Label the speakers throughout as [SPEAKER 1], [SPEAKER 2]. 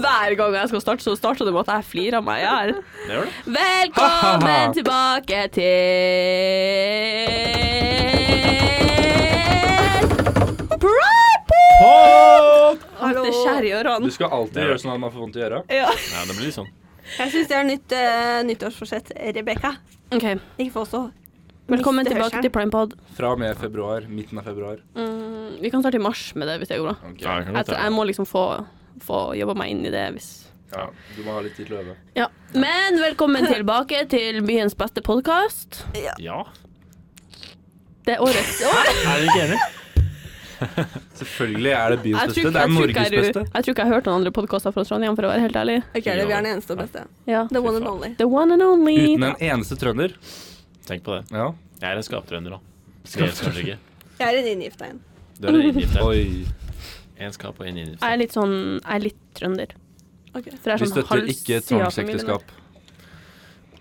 [SPEAKER 1] hver gang jeg skal starte, så starter det med at jeg flirer av meg i hjel.
[SPEAKER 2] Det gjør det.
[SPEAKER 1] Velkommen tilbake til Pride At det skjærer i
[SPEAKER 2] Du
[SPEAKER 1] ørene.
[SPEAKER 2] skal alltid gjøre sånn at man får vondt i øret.
[SPEAKER 1] Ja.
[SPEAKER 3] Ja, det blir litt sånn.
[SPEAKER 4] Jeg syns det er nytt eh, nyttårsforsett, Rebekka.
[SPEAKER 1] OK.
[SPEAKER 4] Ikke få så
[SPEAKER 1] Velkommen
[SPEAKER 4] miste
[SPEAKER 1] tilbake
[SPEAKER 4] hørselen.
[SPEAKER 1] til Primepod.
[SPEAKER 2] Fra og med februar, midten av februar.
[SPEAKER 1] Mm, vi kan starte i mars med det, hvis det går bra.
[SPEAKER 2] Ok.
[SPEAKER 3] Ja, det sånn. kan
[SPEAKER 1] Jeg,
[SPEAKER 3] godt
[SPEAKER 1] tror- jeg
[SPEAKER 3] være.
[SPEAKER 1] må liksom få, få jobba meg inn i det hvis
[SPEAKER 2] Ja, du må ha litt tid til å øve.
[SPEAKER 1] Ja. Men velkommen tilbake til byens beste podkast.
[SPEAKER 3] Ja.
[SPEAKER 1] Det er årets år.
[SPEAKER 3] Er dere ikke enig?
[SPEAKER 2] Selvfølgelig er det
[SPEAKER 1] Jeg tror
[SPEAKER 2] byens
[SPEAKER 1] ikke-
[SPEAKER 2] beste. Det
[SPEAKER 1] jeg tror ikke
[SPEAKER 2] er Norges
[SPEAKER 1] jeg-
[SPEAKER 2] beste.
[SPEAKER 1] Jeg tror ikke jeg har hørt noen andre podkaster fra Trondheim, for å være helt ærlig.
[SPEAKER 4] Ok, det vi er den eneste og beste.
[SPEAKER 1] Ja.
[SPEAKER 4] The one and only.
[SPEAKER 1] The one and only.
[SPEAKER 2] Uten en eneste trønder.
[SPEAKER 3] Tenk på det.
[SPEAKER 2] Ja.
[SPEAKER 3] Jeg er en skaptrønder, da. Det gjør jeg kanskje ikke.
[SPEAKER 4] Jeg er en inngift en.
[SPEAKER 3] Du er en inngift.
[SPEAKER 2] Oi.
[SPEAKER 3] En skap og en inngift.
[SPEAKER 1] Jeg er litt sånn Jeg er litt trønder.
[SPEAKER 4] Ok.
[SPEAKER 1] For jeg er
[SPEAKER 2] Vi
[SPEAKER 1] sånn
[SPEAKER 2] støtter ikke
[SPEAKER 1] halvsida familien.
[SPEAKER 2] tvangsekteskap.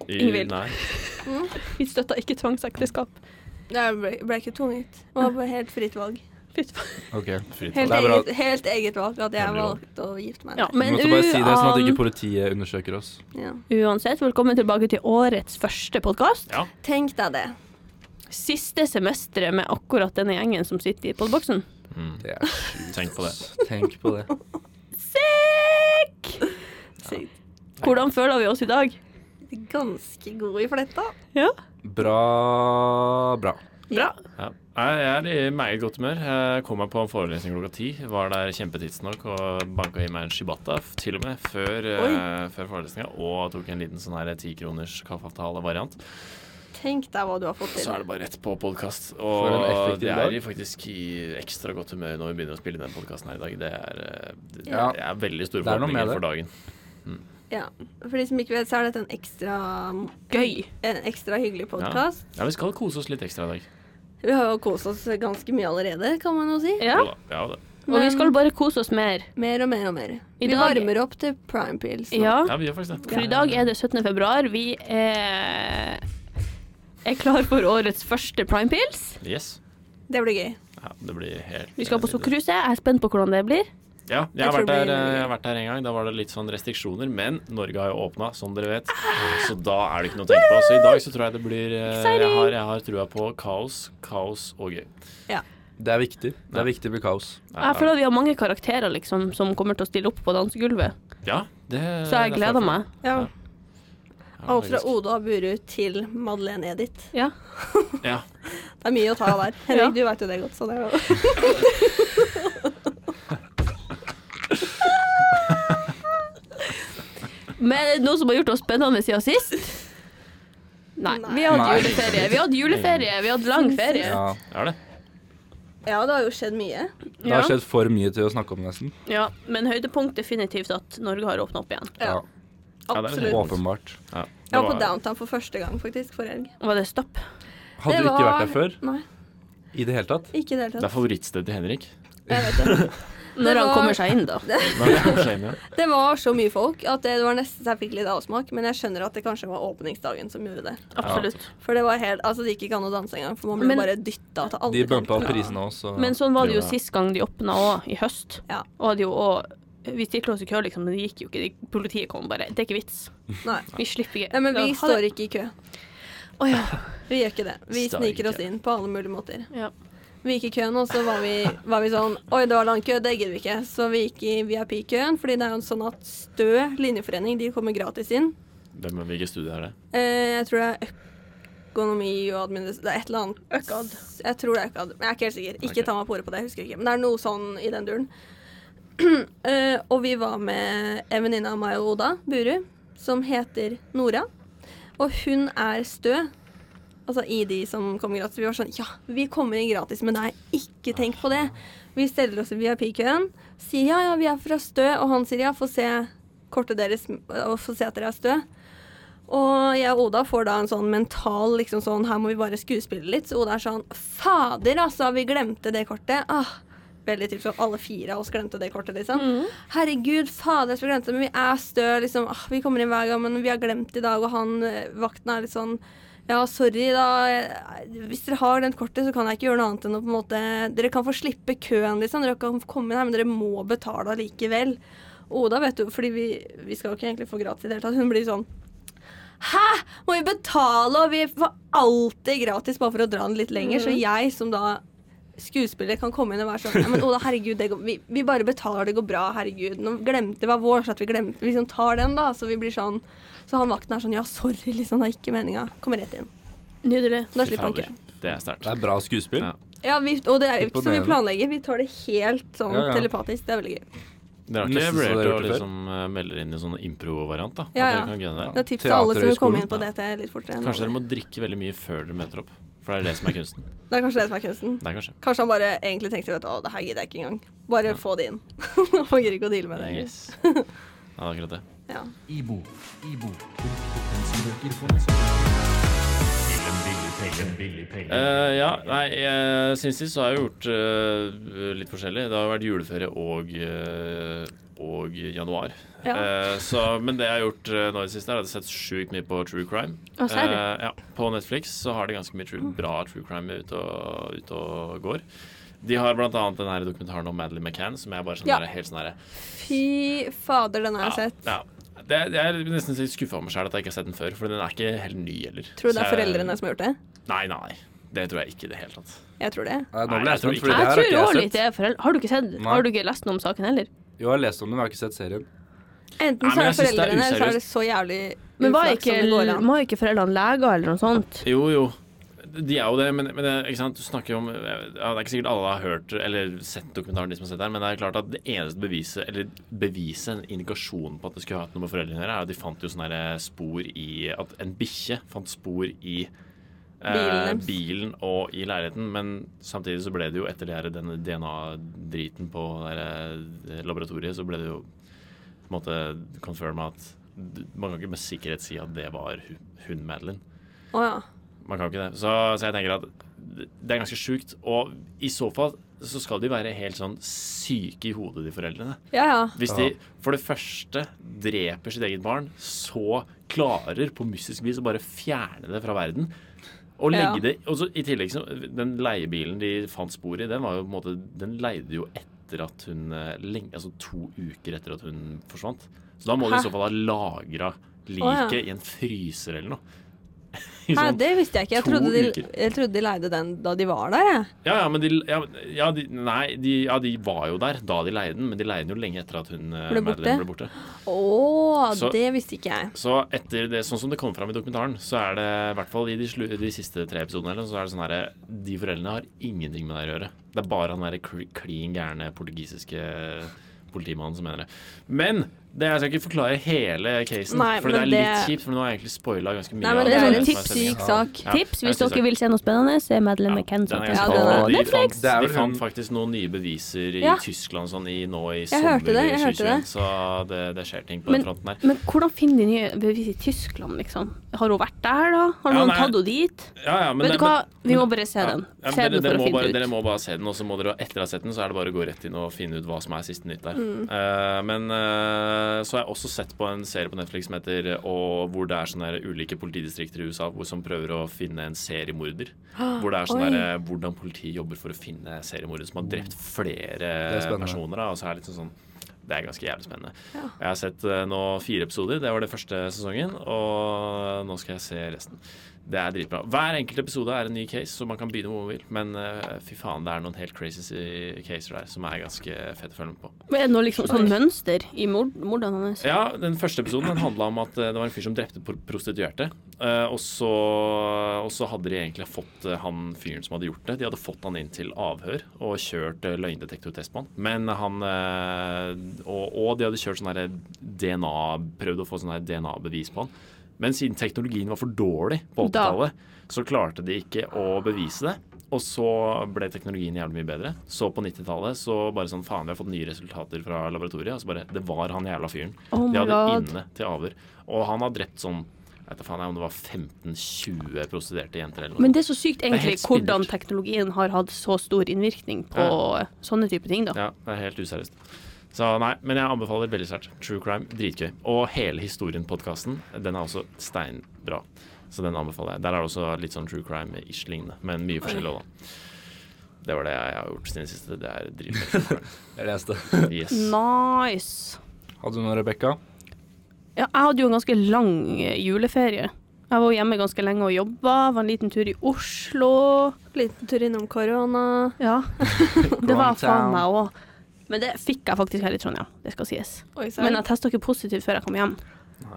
[SPEAKER 3] I-
[SPEAKER 1] Ingvild.
[SPEAKER 3] Nei.
[SPEAKER 1] Vi støtter ikke tvangsekteskap.
[SPEAKER 4] Jeg Mm. ble, ble ikke tvunget. Det var bare helt fritt valg.
[SPEAKER 1] Fy faen.
[SPEAKER 2] Ok.
[SPEAKER 3] Fritt
[SPEAKER 4] Helt
[SPEAKER 2] Det er bra.
[SPEAKER 4] eget, helt eget valg at jeg
[SPEAKER 3] Hemmelig valg.
[SPEAKER 4] valgte å gifte meg.
[SPEAKER 1] Ja,
[SPEAKER 2] Vi
[SPEAKER 1] men um,
[SPEAKER 2] måtte bare si det, sånn at ikke
[SPEAKER 1] uan-
[SPEAKER 2] politiet undersøker oss.
[SPEAKER 4] Ja.
[SPEAKER 1] uansett, velkommen tilbake til årets første podkast.
[SPEAKER 3] Ja.
[SPEAKER 4] Tenk deg det.
[SPEAKER 1] Siste semesteret med akkurat denne gjengen som sitter i podboksen.
[SPEAKER 3] Mm.
[SPEAKER 2] Det er
[SPEAKER 3] Tenk på det.
[SPEAKER 2] Tenk på det.
[SPEAKER 1] Sick!
[SPEAKER 4] Sykt.
[SPEAKER 1] Hvordan føler vi oss i dag?
[SPEAKER 4] Ganske god i fletta.
[SPEAKER 1] Ja.
[SPEAKER 2] Bra bra.
[SPEAKER 1] Bra.
[SPEAKER 3] Ja. Jeg jeg er i meget godt humør. Jeg kom meg på en forelesning klokka ti. Var der kjempetidsnok og banka i meg en shibata f- til og med før, uh, før forelesninga. Og tok en liten sånn her tikroners kaffeavtale-variant.
[SPEAKER 4] Tenk deg hva du har fått til.
[SPEAKER 3] Så er det bare rett på podkast.
[SPEAKER 2] For en
[SPEAKER 3] Og
[SPEAKER 2] effektiv
[SPEAKER 3] det er
[SPEAKER 2] dag.
[SPEAKER 3] i faktisk i ekstra godt humør når vi begynner å spille den podkasten her i dag. Det er, eh, det,
[SPEAKER 2] Ja.
[SPEAKER 3] det er veldig store
[SPEAKER 2] Det er noe
[SPEAKER 3] forhåpninger
[SPEAKER 2] med det.
[SPEAKER 3] for dagen.
[SPEAKER 4] Ja. For de som ikke vet, så er dette en ekstra,
[SPEAKER 1] Gøy.
[SPEAKER 4] en ekstra hyggelig podkast.
[SPEAKER 3] Ja, vi skal kose oss litt ekstra i dag.
[SPEAKER 4] Vi har jo kost oss ganske mye allerede, kan man jo si.
[SPEAKER 1] Ja.
[SPEAKER 3] Jo da, ja, da.
[SPEAKER 1] Og vi skal bare kose oss mer.
[SPEAKER 4] Mer og mer og mer.
[SPEAKER 1] I
[SPEAKER 4] Vi
[SPEAKER 1] dag-
[SPEAKER 4] varmer opp til prime pills. nå.
[SPEAKER 1] Ja.
[SPEAKER 3] ja, vi gjør faktisk det.
[SPEAKER 1] For i dag er det 17. februar. Vi er, er klar for årets første Prime Pills.
[SPEAKER 3] Yes.
[SPEAKER 4] Det blir gøy.
[SPEAKER 3] Ja, det blir helt
[SPEAKER 1] Vi skal på
[SPEAKER 3] eh,
[SPEAKER 1] sukkerhuset. Jeg er spent på hvordan det blir.
[SPEAKER 3] Ja, jeg har, vært
[SPEAKER 4] Jeg tror det
[SPEAKER 3] der, eh,
[SPEAKER 4] blir veldig
[SPEAKER 3] jeg
[SPEAKER 4] gøy.
[SPEAKER 3] har vært der en gang. Da var det litt sånn restriksjoner. Men Norge har jo åpna, som dere vet. Så da er det ikke noe å tenke på. Så i dag så tror jeg det blir eh, Jeg
[SPEAKER 1] Exciting!
[SPEAKER 3] har, jeg har trua på kaos, kaos og gøy.
[SPEAKER 2] Det er viktig. Det er viktig med kaos.
[SPEAKER 3] Ja,
[SPEAKER 1] Jeg føler at vi har mange karakterer liksom, som kommer til å stille opp på dansegulvet,
[SPEAKER 3] Ja, det,
[SPEAKER 1] så jeg
[SPEAKER 3] det er
[SPEAKER 1] gleder
[SPEAKER 3] for-
[SPEAKER 1] meg.
[SPEAKER 4] Ja.
[SPEAKER 3] Ja,
[SPEAKER 4] Alt fra
[SPEAKER 3] faktisk.
[SPEAKER 4] Oda og Buru til Madeleine Edith.
[SPEAKER 1] Ja.
[SPEAKER 3] Ja.
[SPEAKER 4] Det er mye å ta av der. Henrik,
[SPEAKER 1] Ja.
[SPEAKER 4] du veit jo det godt, så det er jo
[SPEAKER 1] Men noe som har gjort oss spennende siden sist? Nei. Vi hadde
[SPEAKER 2] Nei.
[SPEAKER 1] juleferie. Vi hadde juleferie. Vi hadde lang ferie.
[SPEAKER 2] Ja.
[SPEAKER 3] Er det?
[SPEAKER 4] Ja, det har jo skjedd mye.
[SPEAKER 2] Det har
[SPEAKER 1] Ja.
[SPEAKER 2] skjedd for mye til å snakke om, nesten.
[SPEAKER 1] ja. Men høydepunkt definitivt at Norge har åpna opp igjen.
[SPEAKER 4] Ja.
[SPEAKER 3] Ja, det er
[SPEAKER 4] Absolutt.
[SPEAKER 3] det.
[SPEAKER 2] Åpenbart.
[SPEAKER 3] Ja, det
[SPEAKER 4] Jeg var
[SPEAKER 3] var-
[SPEAKER 4] på Downtown for første gang, faktisk, forrige helg.
[SPEAKER 1] Var det stopp?
[SPEAKER 2] Hadde
[SPEAKER 4] Det
[SPEAKER 2] du ikke
[SPEAKER 4] var-
[SPEAKER 2] vært der før
[SPEAKER 4] Nei,
[SPEAKER 2] i det hele tatt?
[SPEAKER 4] ikke i det
[SPEAKER 3] Det
[SPEAKER 4] hele
[SPEAKER 3] er
[SPEAKER 4] tatt.
[SPEAKER 3] favorittstedet til Henrik.
[SPEAKER 4] Jeg vet det. Det
[SPEAKER 1] Når han
[SPEAKER 4] var-
[SPEAKER 1] kommer seg inn, da.
[SPEAKER 3] Når han kommer seg inn igjen.
[SPEAKER 4] Det var så mye folk at det var nesten så jeg fikk litt avsmak. Men jeg skjønner at det kanskje var åpningsdagen som gjorde det.
[SPEAKER 1] Absolutt.
[SPEAKER 4] For det var helt Altså, det gikk ikke an å danse engang, for man ble
[SPEAKER 1] Men-
[SPEAKER 4] bare dytta til alle
[SPEAKER 2] De bumpa opp
[SPEAKER 4] kanter.
[SPEAKER 2] prisene òg, så
[SPEAKER 1] Men sånn var det jo
[SPEAKER 3] Jo, ja.
[SPEAKER 1] sist gang de åpna òg, i høst.
[SPEAKER 4] Ja.
[SPEAKER 1] Og hadde jo også Vi stilte oss i kø, liksom, men det gikk jo ikke. De- Politiet kom bare. Det er ikke vits.
[SPEAKER 4] Nei.
[SPEAKER 1] Vi slipper ikke.
[SPEAKER 4] Nei, men vi
[SPEAKER 1] Da- ha
[SPEAKER 4] står
[SPEAKER 1] det.
[SPEAKER 4] ikke i kø.
[SPEAKER 1] Å ja.
[SPEAKER 4] Vi gjør ikke det. Vi
[SPEAKER 3] Står ikke.
[SPEAKER 4] sniker oss inn på alle mulige måter.
[SPEAKER 1] ja.
[SPEAKER 4] Vi gikk i køen, og så var vi, var vi sånn Oi, det var lang kø, det gidder vi ikke. Så vi gikk i VIP-køen, fordi det er jo en sånn at Stø linjeforening, de kommer gratis inn.
[SPEAKER 3] Hvem, hvilket studie er det?
[SPEAKER 4] Eh, jeg tror det er økonomi og administrasjon Det er et eller annet. Økad. Jeg tror det er økad, men jeg er ikke helt sikker. Ikke
[SPEAKER 3] Ok.
[SPEAKER 4] ta meg på ordet på det, jeg husker ikke. Men det er noe sånn i den duren. eh, og vi var med en venninne av meg og Oda, Buru, som heter Nora. Og hun er stø. Altså i de som kommer gratis. Vi var sånn Ja, vi kommer inn gratis med deg. Ikke tenk på det. Vi steller oss i VIP-køen. Sier ja, ja, vi er fra Stø. Og han sier ja, få se kortet deres og få se at dere er Stø. Og jeg og Oda får da en sånn mental liksom sånn Her må vi bare skuespille litt. Så Oda er sånn Fader, altså, vi glemte det kortet. Ah. Veldig typisk sånn alle fire av oss glemte det kortet, liksom. Herregud, fader, jeg skulle glemt det, men vi er stø, liksom. Ah, vi kommer inn hver gang, men vi har glemt i dag, og han eh, vakten er litt sånn ja, sorry, da. Hvis dere har glemt kortet, så kan jeg ikke gjøre noe annet enn å på en måte Dere kan få slippe køen, liksom. Dere kan komme inn her, men dere må betale allikevel. Oda, vet du, fordi vi, vi skal jo ikke egentlig få gratis i det hele tatt. Hun blir sånn Hæ! Må vi betale, og vi får alltid gratis bare for å dra den litt lenger.
[SPEAKER 2] Mm.
[SPEAKER 4] Så jeg som da skuespiller kan komme inn og være sånn «Nei, Men Oda, herregud, det går, vi, vi bare betaler, det går bra, herregud. Nå glemte det var vår, så at vi glemte Vi liksom tar den, da. Så vi blir sånn Så han vakten er sånn Ja, sorry, liksom, det er ikke meninga. Kommer rett inn.
[SPEAKER 1] Nydelig.
[SPEAKER 4] Da slipper han ikke.
[SPEAKER 3] Det er sterkt.
[SPEAKER 2] Det er bra skuespill.
[SPEAKER 3] Ja.
[SPEAKER 4] Ja, vi, og det er jo ikke så vi
[SPEAKER 2] Imponerende.
[SPEAKER 4] planlegger. Vi tar det helt sånn
[SPEAKER 2] Ja, ja.
[SPEAKER 4] telepatisk. Det er veldig gøy.
[SPEAKER 3] Dere har
[SPEAKER 2] Nesten
[SPEAKER 3] ikke
[SPEAKER 2] så dere
[SPEAKER 3] vurdert
[SPEAKER 2] har
[SPEAKER 3] å
[SPEAKER 2] gjort det før.
[SPEAKER 3] liksom eh, melde inn i sånn impro-variant, da? At
[SPEAKER 4] Ja, ja.
[SPEAKER 3] dere kan gunne
[SPEAKER 4] Det
[SPEAKER 3] det?
[SPEAKER 4] er tips til alle som vil komme
[SPEAKER 2] Teaterhøgskolen.
[SPEAKER 4] inn på DT litt fortere. enn
[SPEAKER 3] Kanskje dere
[SPEAKER 4] alle.
[SPEAKER 3] må drikke veldig mye før dere møter opp? For det er det som er kunsten.
[SPEAKER 4] Det er kanskje det som er kunsten.
[SPEAKER 3] Det er kanskje.
[SPEAKER 4] Kanskje han bare egentlig tenkte vet du, å, det her gidder jeg ikke engang. Bare få det inn. Han gidder ikke å deale med det.
[SPEAKER 3] Yes. Ja, det er akkurat det.
[SPEAKER 4] Ja.
[SPEAKER 5] Ibo. Ibo. Pensjonbøker for pensjonbøker.
[SPEAKER 3] Eh, ja, nei, jeg, siden sist så har jeg gjort eh, litt forskjellig. Det har vært juleferie og, eh, og januar.
[SPEAKER 4] Ja.
[SPEAKER 3] Eh, så, men det jeg har gjort eh, nå i det siste, er at jeg har sett sjukt mye på true crime.
[SPEAKER 1] Å, serr?
[SPEAKER 3] Eh, ja, på Netflix så har de ganske mye true, bra true crime ute og, ute og går. De har blant annet den her dokumentaren om Madeleine McCann, som jeg bare sånn
[SPEAKER 4] Ja.
[SPEAKER 3] der, helt sånn derre
[SPEAKER 4] Fy fader, den har jeg sett.
[SPEAKER 3] ja. Det, jeg er nesten litt skuffa over meg sjøl at jeg ikke har sett den før, for den er ikke helt ny heller.
[SPEAKER 4] Tror du det
[SPEAKER 3] Så
[SPEAKER 4] er
[SPEAKER 3] jeg-
[SPEAKER 4] foreldrene som har gjort det?
[SPEAKER 3] Nei, nei. Det tror jeg ikke i det hele tatt.
[SPEAKER 4] Jeg tror det.
[SPEAKER 2] Nei, nå
[SPEAKER 3] Nei,
[SPEAKER 2] ble
[SPEAKER 3] jeg
[SPEAKER 2] jeg
[SPEAKER 3] tror
[SPEAKER 2] skremt,
[SPEAKER 3] ikke
[SPEAKER 2] for
[SPEAKER 3] det.
[SPEAKER 2] det her
[SPEAKER 1] Jeg
[SPEAKER 2] har
[SPEAKER 1] tror
[SPEAKER 2] ikke
[SPEAKER 1] også
[SPEAKER 2] jeg
[SPEAKER 1] litt
[SPEAKER 2] sett.
[SPEAKER 1] det er foreldre. Har du ikke sett? Har du ikke lest noe om saken heller?
[SPEAKER 2] Jo, jeg har lest om det, men jeg har ikke sett serien.
[SPEAKER 4] Enten
[SPEAKER 3] Nei,
[SPEAKER 4] så
[SPEAKER 3] men
[SPEAKER 4] er det
[SPEAKER 3] jeg synes det er
[SPEAKER 4] foreldrene, eller så er det så jævlig
[SPEAKER 1] Men var
[SPEAKER 4] uflaks
[SPEAKER 1] ikke,
[SPEAKER 4] som det går an.
[SPEAKER 1] var ikke foreldrene leger eller noe sånt?
[SPEAKER 3] Jo, jo. De er jo det, men, men det, ikke sant? du snakker jo om eh, ja, Det er ikke sikkert alle har hørt eller sett dokumentaren, de som har sett den, men det er klart at det eneste beviset, eller beviset, en indikasjon på at det skulle ha hatt noe med foreldrene å gjøre, er at de fant jo sånne her spor i At en bikkje fant spor i
[SPEAKER 4] Bilen
[SPEAKER 3] eh,
[SPEAKER 4] deres.
[SPEAKER 3] bilen og i leiligheten, men samtidig så ble det jo etter det her, denne DNA-driten på det her, eh, laboratoriet, så ble det jo på en måte confirma at d- man kan ikke med sikkerhet si at det var hun, hun Madeline.
[SPEAKER 4] Å ja.
[SPEAKER 3] Man kan jo ikke det. Så, så jeg tenker at det er ganske sjukt. Og i så fall så skal de være helt sånn syke i hodet, de foreldrene.
[SPEAKER 4] Ja ja.
[SPEAKER 3] Hvis de for det første dreper sitt eget barn, så klarer på mystisk vis å bare fjerne det fra verden. Og legge
[SPEAKER 4] Ja.
[SPEAKER 3] det Og så i tillegg så Den leiebilen de fant spor i, den var jo på en måte Den leide jo etter at hun eh, lenge, Altså to uker etter at hun forsvant. Så da må de
[SPEAKER 4] Hæ?
[SPEAKER 3] i så fall ha lagra liket
[SPEAKER 4] Å, ja.
[SPEAKER 3] i en fryser eller noe. I
[SPEAKER 4] Hæ,
[SPEAKER 3] sånn-
[SPEAKER 4] det visste jeg ikke. Jeg
[SPEAKER 3] to
[SPEAKER 4] trodde, de,
[SPEAKER 3] uker.
[SPEAKER 4] jeg trodde de leide den da de var der, jeg.
[SPEAKER 3] Ja, ja, men de, ja, ja, de Nei, de, ja, de var jo der da de leide den, men de leide den jo lenge etter at hun eh,
[SPEAKER 4] Ble borte.
[SPEAKER 3] Madeleine ble borte.
[SPEAKER 4] Å,
[SPEAKER 3] Så-
[SPEAKER 4] det visste ikke jeg.
[SPEAKER 3] Så etter det, sånn som det kom fram i dokumentaren, så er det i hvert fall i de, slu, de siste tre episodene eller, noe, så er det sånn herre De foreldrene har ingenting med det her å gjøre. Det er bare han derre kl- klin gærne portugisiske politimannen som mener det. Men det, jeg skal ikke forklare hele casen,
[SPEAKER 4] Nei,
[SPEAKER 3] for det er
[SPEAKER 4] men
[SPEAKER 3] litt
[SPEAKER 4] det-
[SPEAKER 3] kjipt, for nå har jeg egentlig spoila ganske mye.
[SPEAKER 4] Nei, men
[SPEAKER 3] av
[SPEAKER 4] det er
[SPEAKER 3] som
[SPEAKER 4] sånn en
[SPEAKER 3] er sendingen.
[SPEAKER 4] tipssyk sak.
[SPEAKER 3] Ja,
[SPEAKER 1] Tips
[SPEAKER 3] jeg
[SPEAKER 1] hvis
[SPEAKER 3] synes
[SPEAKER 1] dere vil se noe spennende, se Madeleine
[SPEAKER 3] den er
[SPEAKER 1] McCann-saken
[SPEAKER 3] ganske sånn.
[SPEAKER 4] Ja,
[SPEAKER 1] på
[SPEAKER 4] den er-
[SPEAKER 3] spennende. de
[SPEAKER 1] Netflix.
[SPEAKER 3] fant,
[SPEAKER 2] Det er
[SPEAKER 3] de
[SPEAKER 2] vel
[SPEAKER 3] fant
[SPEAKER 2] hun-
[SPEAKER 3] faktisk noen nye beviser i
[SPEAKER 4] Ja.
[SPEAKER 3] Tyskland sånn i, nå i
[SPEAKER 4] Jeg hørte
[SPEAKER 3] sommer
[SPEAKER 4] det,
[SPEAKER 3] i
[SPEAKER 4] jeg hørte
[SPEAKER 3] 2021,
[SPEAKER 4] det.
[SPEAKER 3] så det, det skjer ting på
[SPEAKER 1] Men-
[SPEAKER 3] den fronten der.
[SPEAKER 1] Men hvordan finner de nye bevis i Tyskland, liksom? Har hun vært der, da? Har
[SPEAKER 3] Ja,
[SPEAKER 1] noen
[SPEAKER 3] nei.
[SPEAKER 1] tatt henne dit?
[SPEAKER 3] Ja, ja, men
[SPEAKER 1] Vet
[SPEAKER 3] det-
[SPEAKER 1] du hva, vi
[SPEAKER 3] men-
[SPEAKER 1] må bare se
[SPEAKER 3] Ja.
[SPEAKER 1] den.
[SPEAKER 3] Ja, men
[SPEAKER 1] Se
[SPEAKER 3] dere,
[SPEAKER 1] den for
[SPEAKER 3] dere,
[SPEAKER 1] å
[SPEAKER 3] må
[SPEAKER 1] finne
[SPEAKER 3] bare, dere
[SPEAKER 1] ut.
[SPEAKER 3] må bare se den, og så må dere etter å ha sett den, så er det bare å gå rett inn og finne ut hva som er siste nytt der.
[SPEAKER 1] Mm.
[SPEAKER 3] Eh, men eh, så har jeg også sett på en serie på Netflix som heter og hvor det er sånne her ulike politidistrikter i USA hvor, som prøver å finne en seriemorder. Hvor det er sånn
[SPEAKER 4] Oi.
[SPEAKER 3] der, eh, hvordan politiet jobber for å finne seriemordere som har drept flere
[SPEAKER 2] er spennende.
[SPEAKER 3] personer. Da, og så er det liksom sånn det er ganske jævlig spennende. Jeg har sett eh, nå fire episoder. Det var det første sesongen. Og nå skal jeg se resten. Det er dritbra. Hver enkelt episode er en ny case, så man kan begynne hvor man vil. Men eh, fy faen, det er noen helt crazy si- caser der som er ganske fett å følge med på.
[SPEAKER 1] Men er det noe liksom sånn mønster i mord- mordene hans?
[SPEAKER 3] Ja, Den første episoden den handla om at eh, det var en fyr som drepte pro- prostituerte. Eh, og, så, og så hadde de egentlig fått eh, han fyren som hadde gjort det, de hadde fått han inn til avhør og kjørt eh, løgndetektortest på han. Men han eh, og, og de hadde kjørt sånn her DNA prøvd å få sånn her DNA-bevis på han. Men siden teknologien var for dårlig på
[SPEAKER 1] Da.
[SPEAKER 3] 80-tallet, så klarte de ikke å bevise det. Og så ble teknologien jævlig mye bedre. Så på 90-tallet så bare sånn faen, vi har fått nye resultater fra laboratoriet. Og så bare Det var han jævla fyren. De
[SPEAKER 1] Oh my
[SPEAKER 3] hadde
[SPEAKER 1] god.
[SPEAKER 3] inne til avhør. Og han har drept sånn Jeg vet da faen jeg om det var 15-20 prostituerte jenter eller noe.
[SPEAKER 1] Men det er så sykt
[SPEAKER 3] er
[SPEAKER 1] egentlig
[SPEAKER 3] helt
[SPEAKER 1] hvordan
[SPEAKER 3] spinnert.
[SPEAKER 1] teknologien har hatt så stor innvirkning på
[SPEAKER 3] Ja.
[SPEAKER 1] sånne type ting, da.
[SPEAKER 3] Ja, det er helt useriøst. Så nei, men jeg anbefaler veldig sterkt. True crime, dritgøy. Og hele Historien-podkasten, den er også steinbra. Så den anbefaler jeg. Der er det også litt sånn true crime-ish lignende, men mye forskjellig òg, da. Det var det jeg har gjort siden sist. Det er dritgøy.
[SPEAKER 2] Jeg leste.
[SPEAKER 3] Yes.
[SPEAKER 1] Nice.
[SPEAKER 2] Hadde du noen, Rebekka?
[SPEAKER 1] Ja, jeg hadde jo en ganske lang eh, juleferie. Jeg var hjemme ganske lenge og jobba. Var en liten tur i Oslo.
[SPEAKER 4] Liten tur innom korona.
[SPEAKER 1] Ja. det var faen
[SPEAKER 2] Grandtown.
[SPEAKER 1] meg òg. Men det fikk jeg faktisk her i Trondheim, det skal sies.
[SPEAKER 4] Oi, sorry.
[SPEAKER 1] Men jeg testa ikke positivt før jeg kom hjem.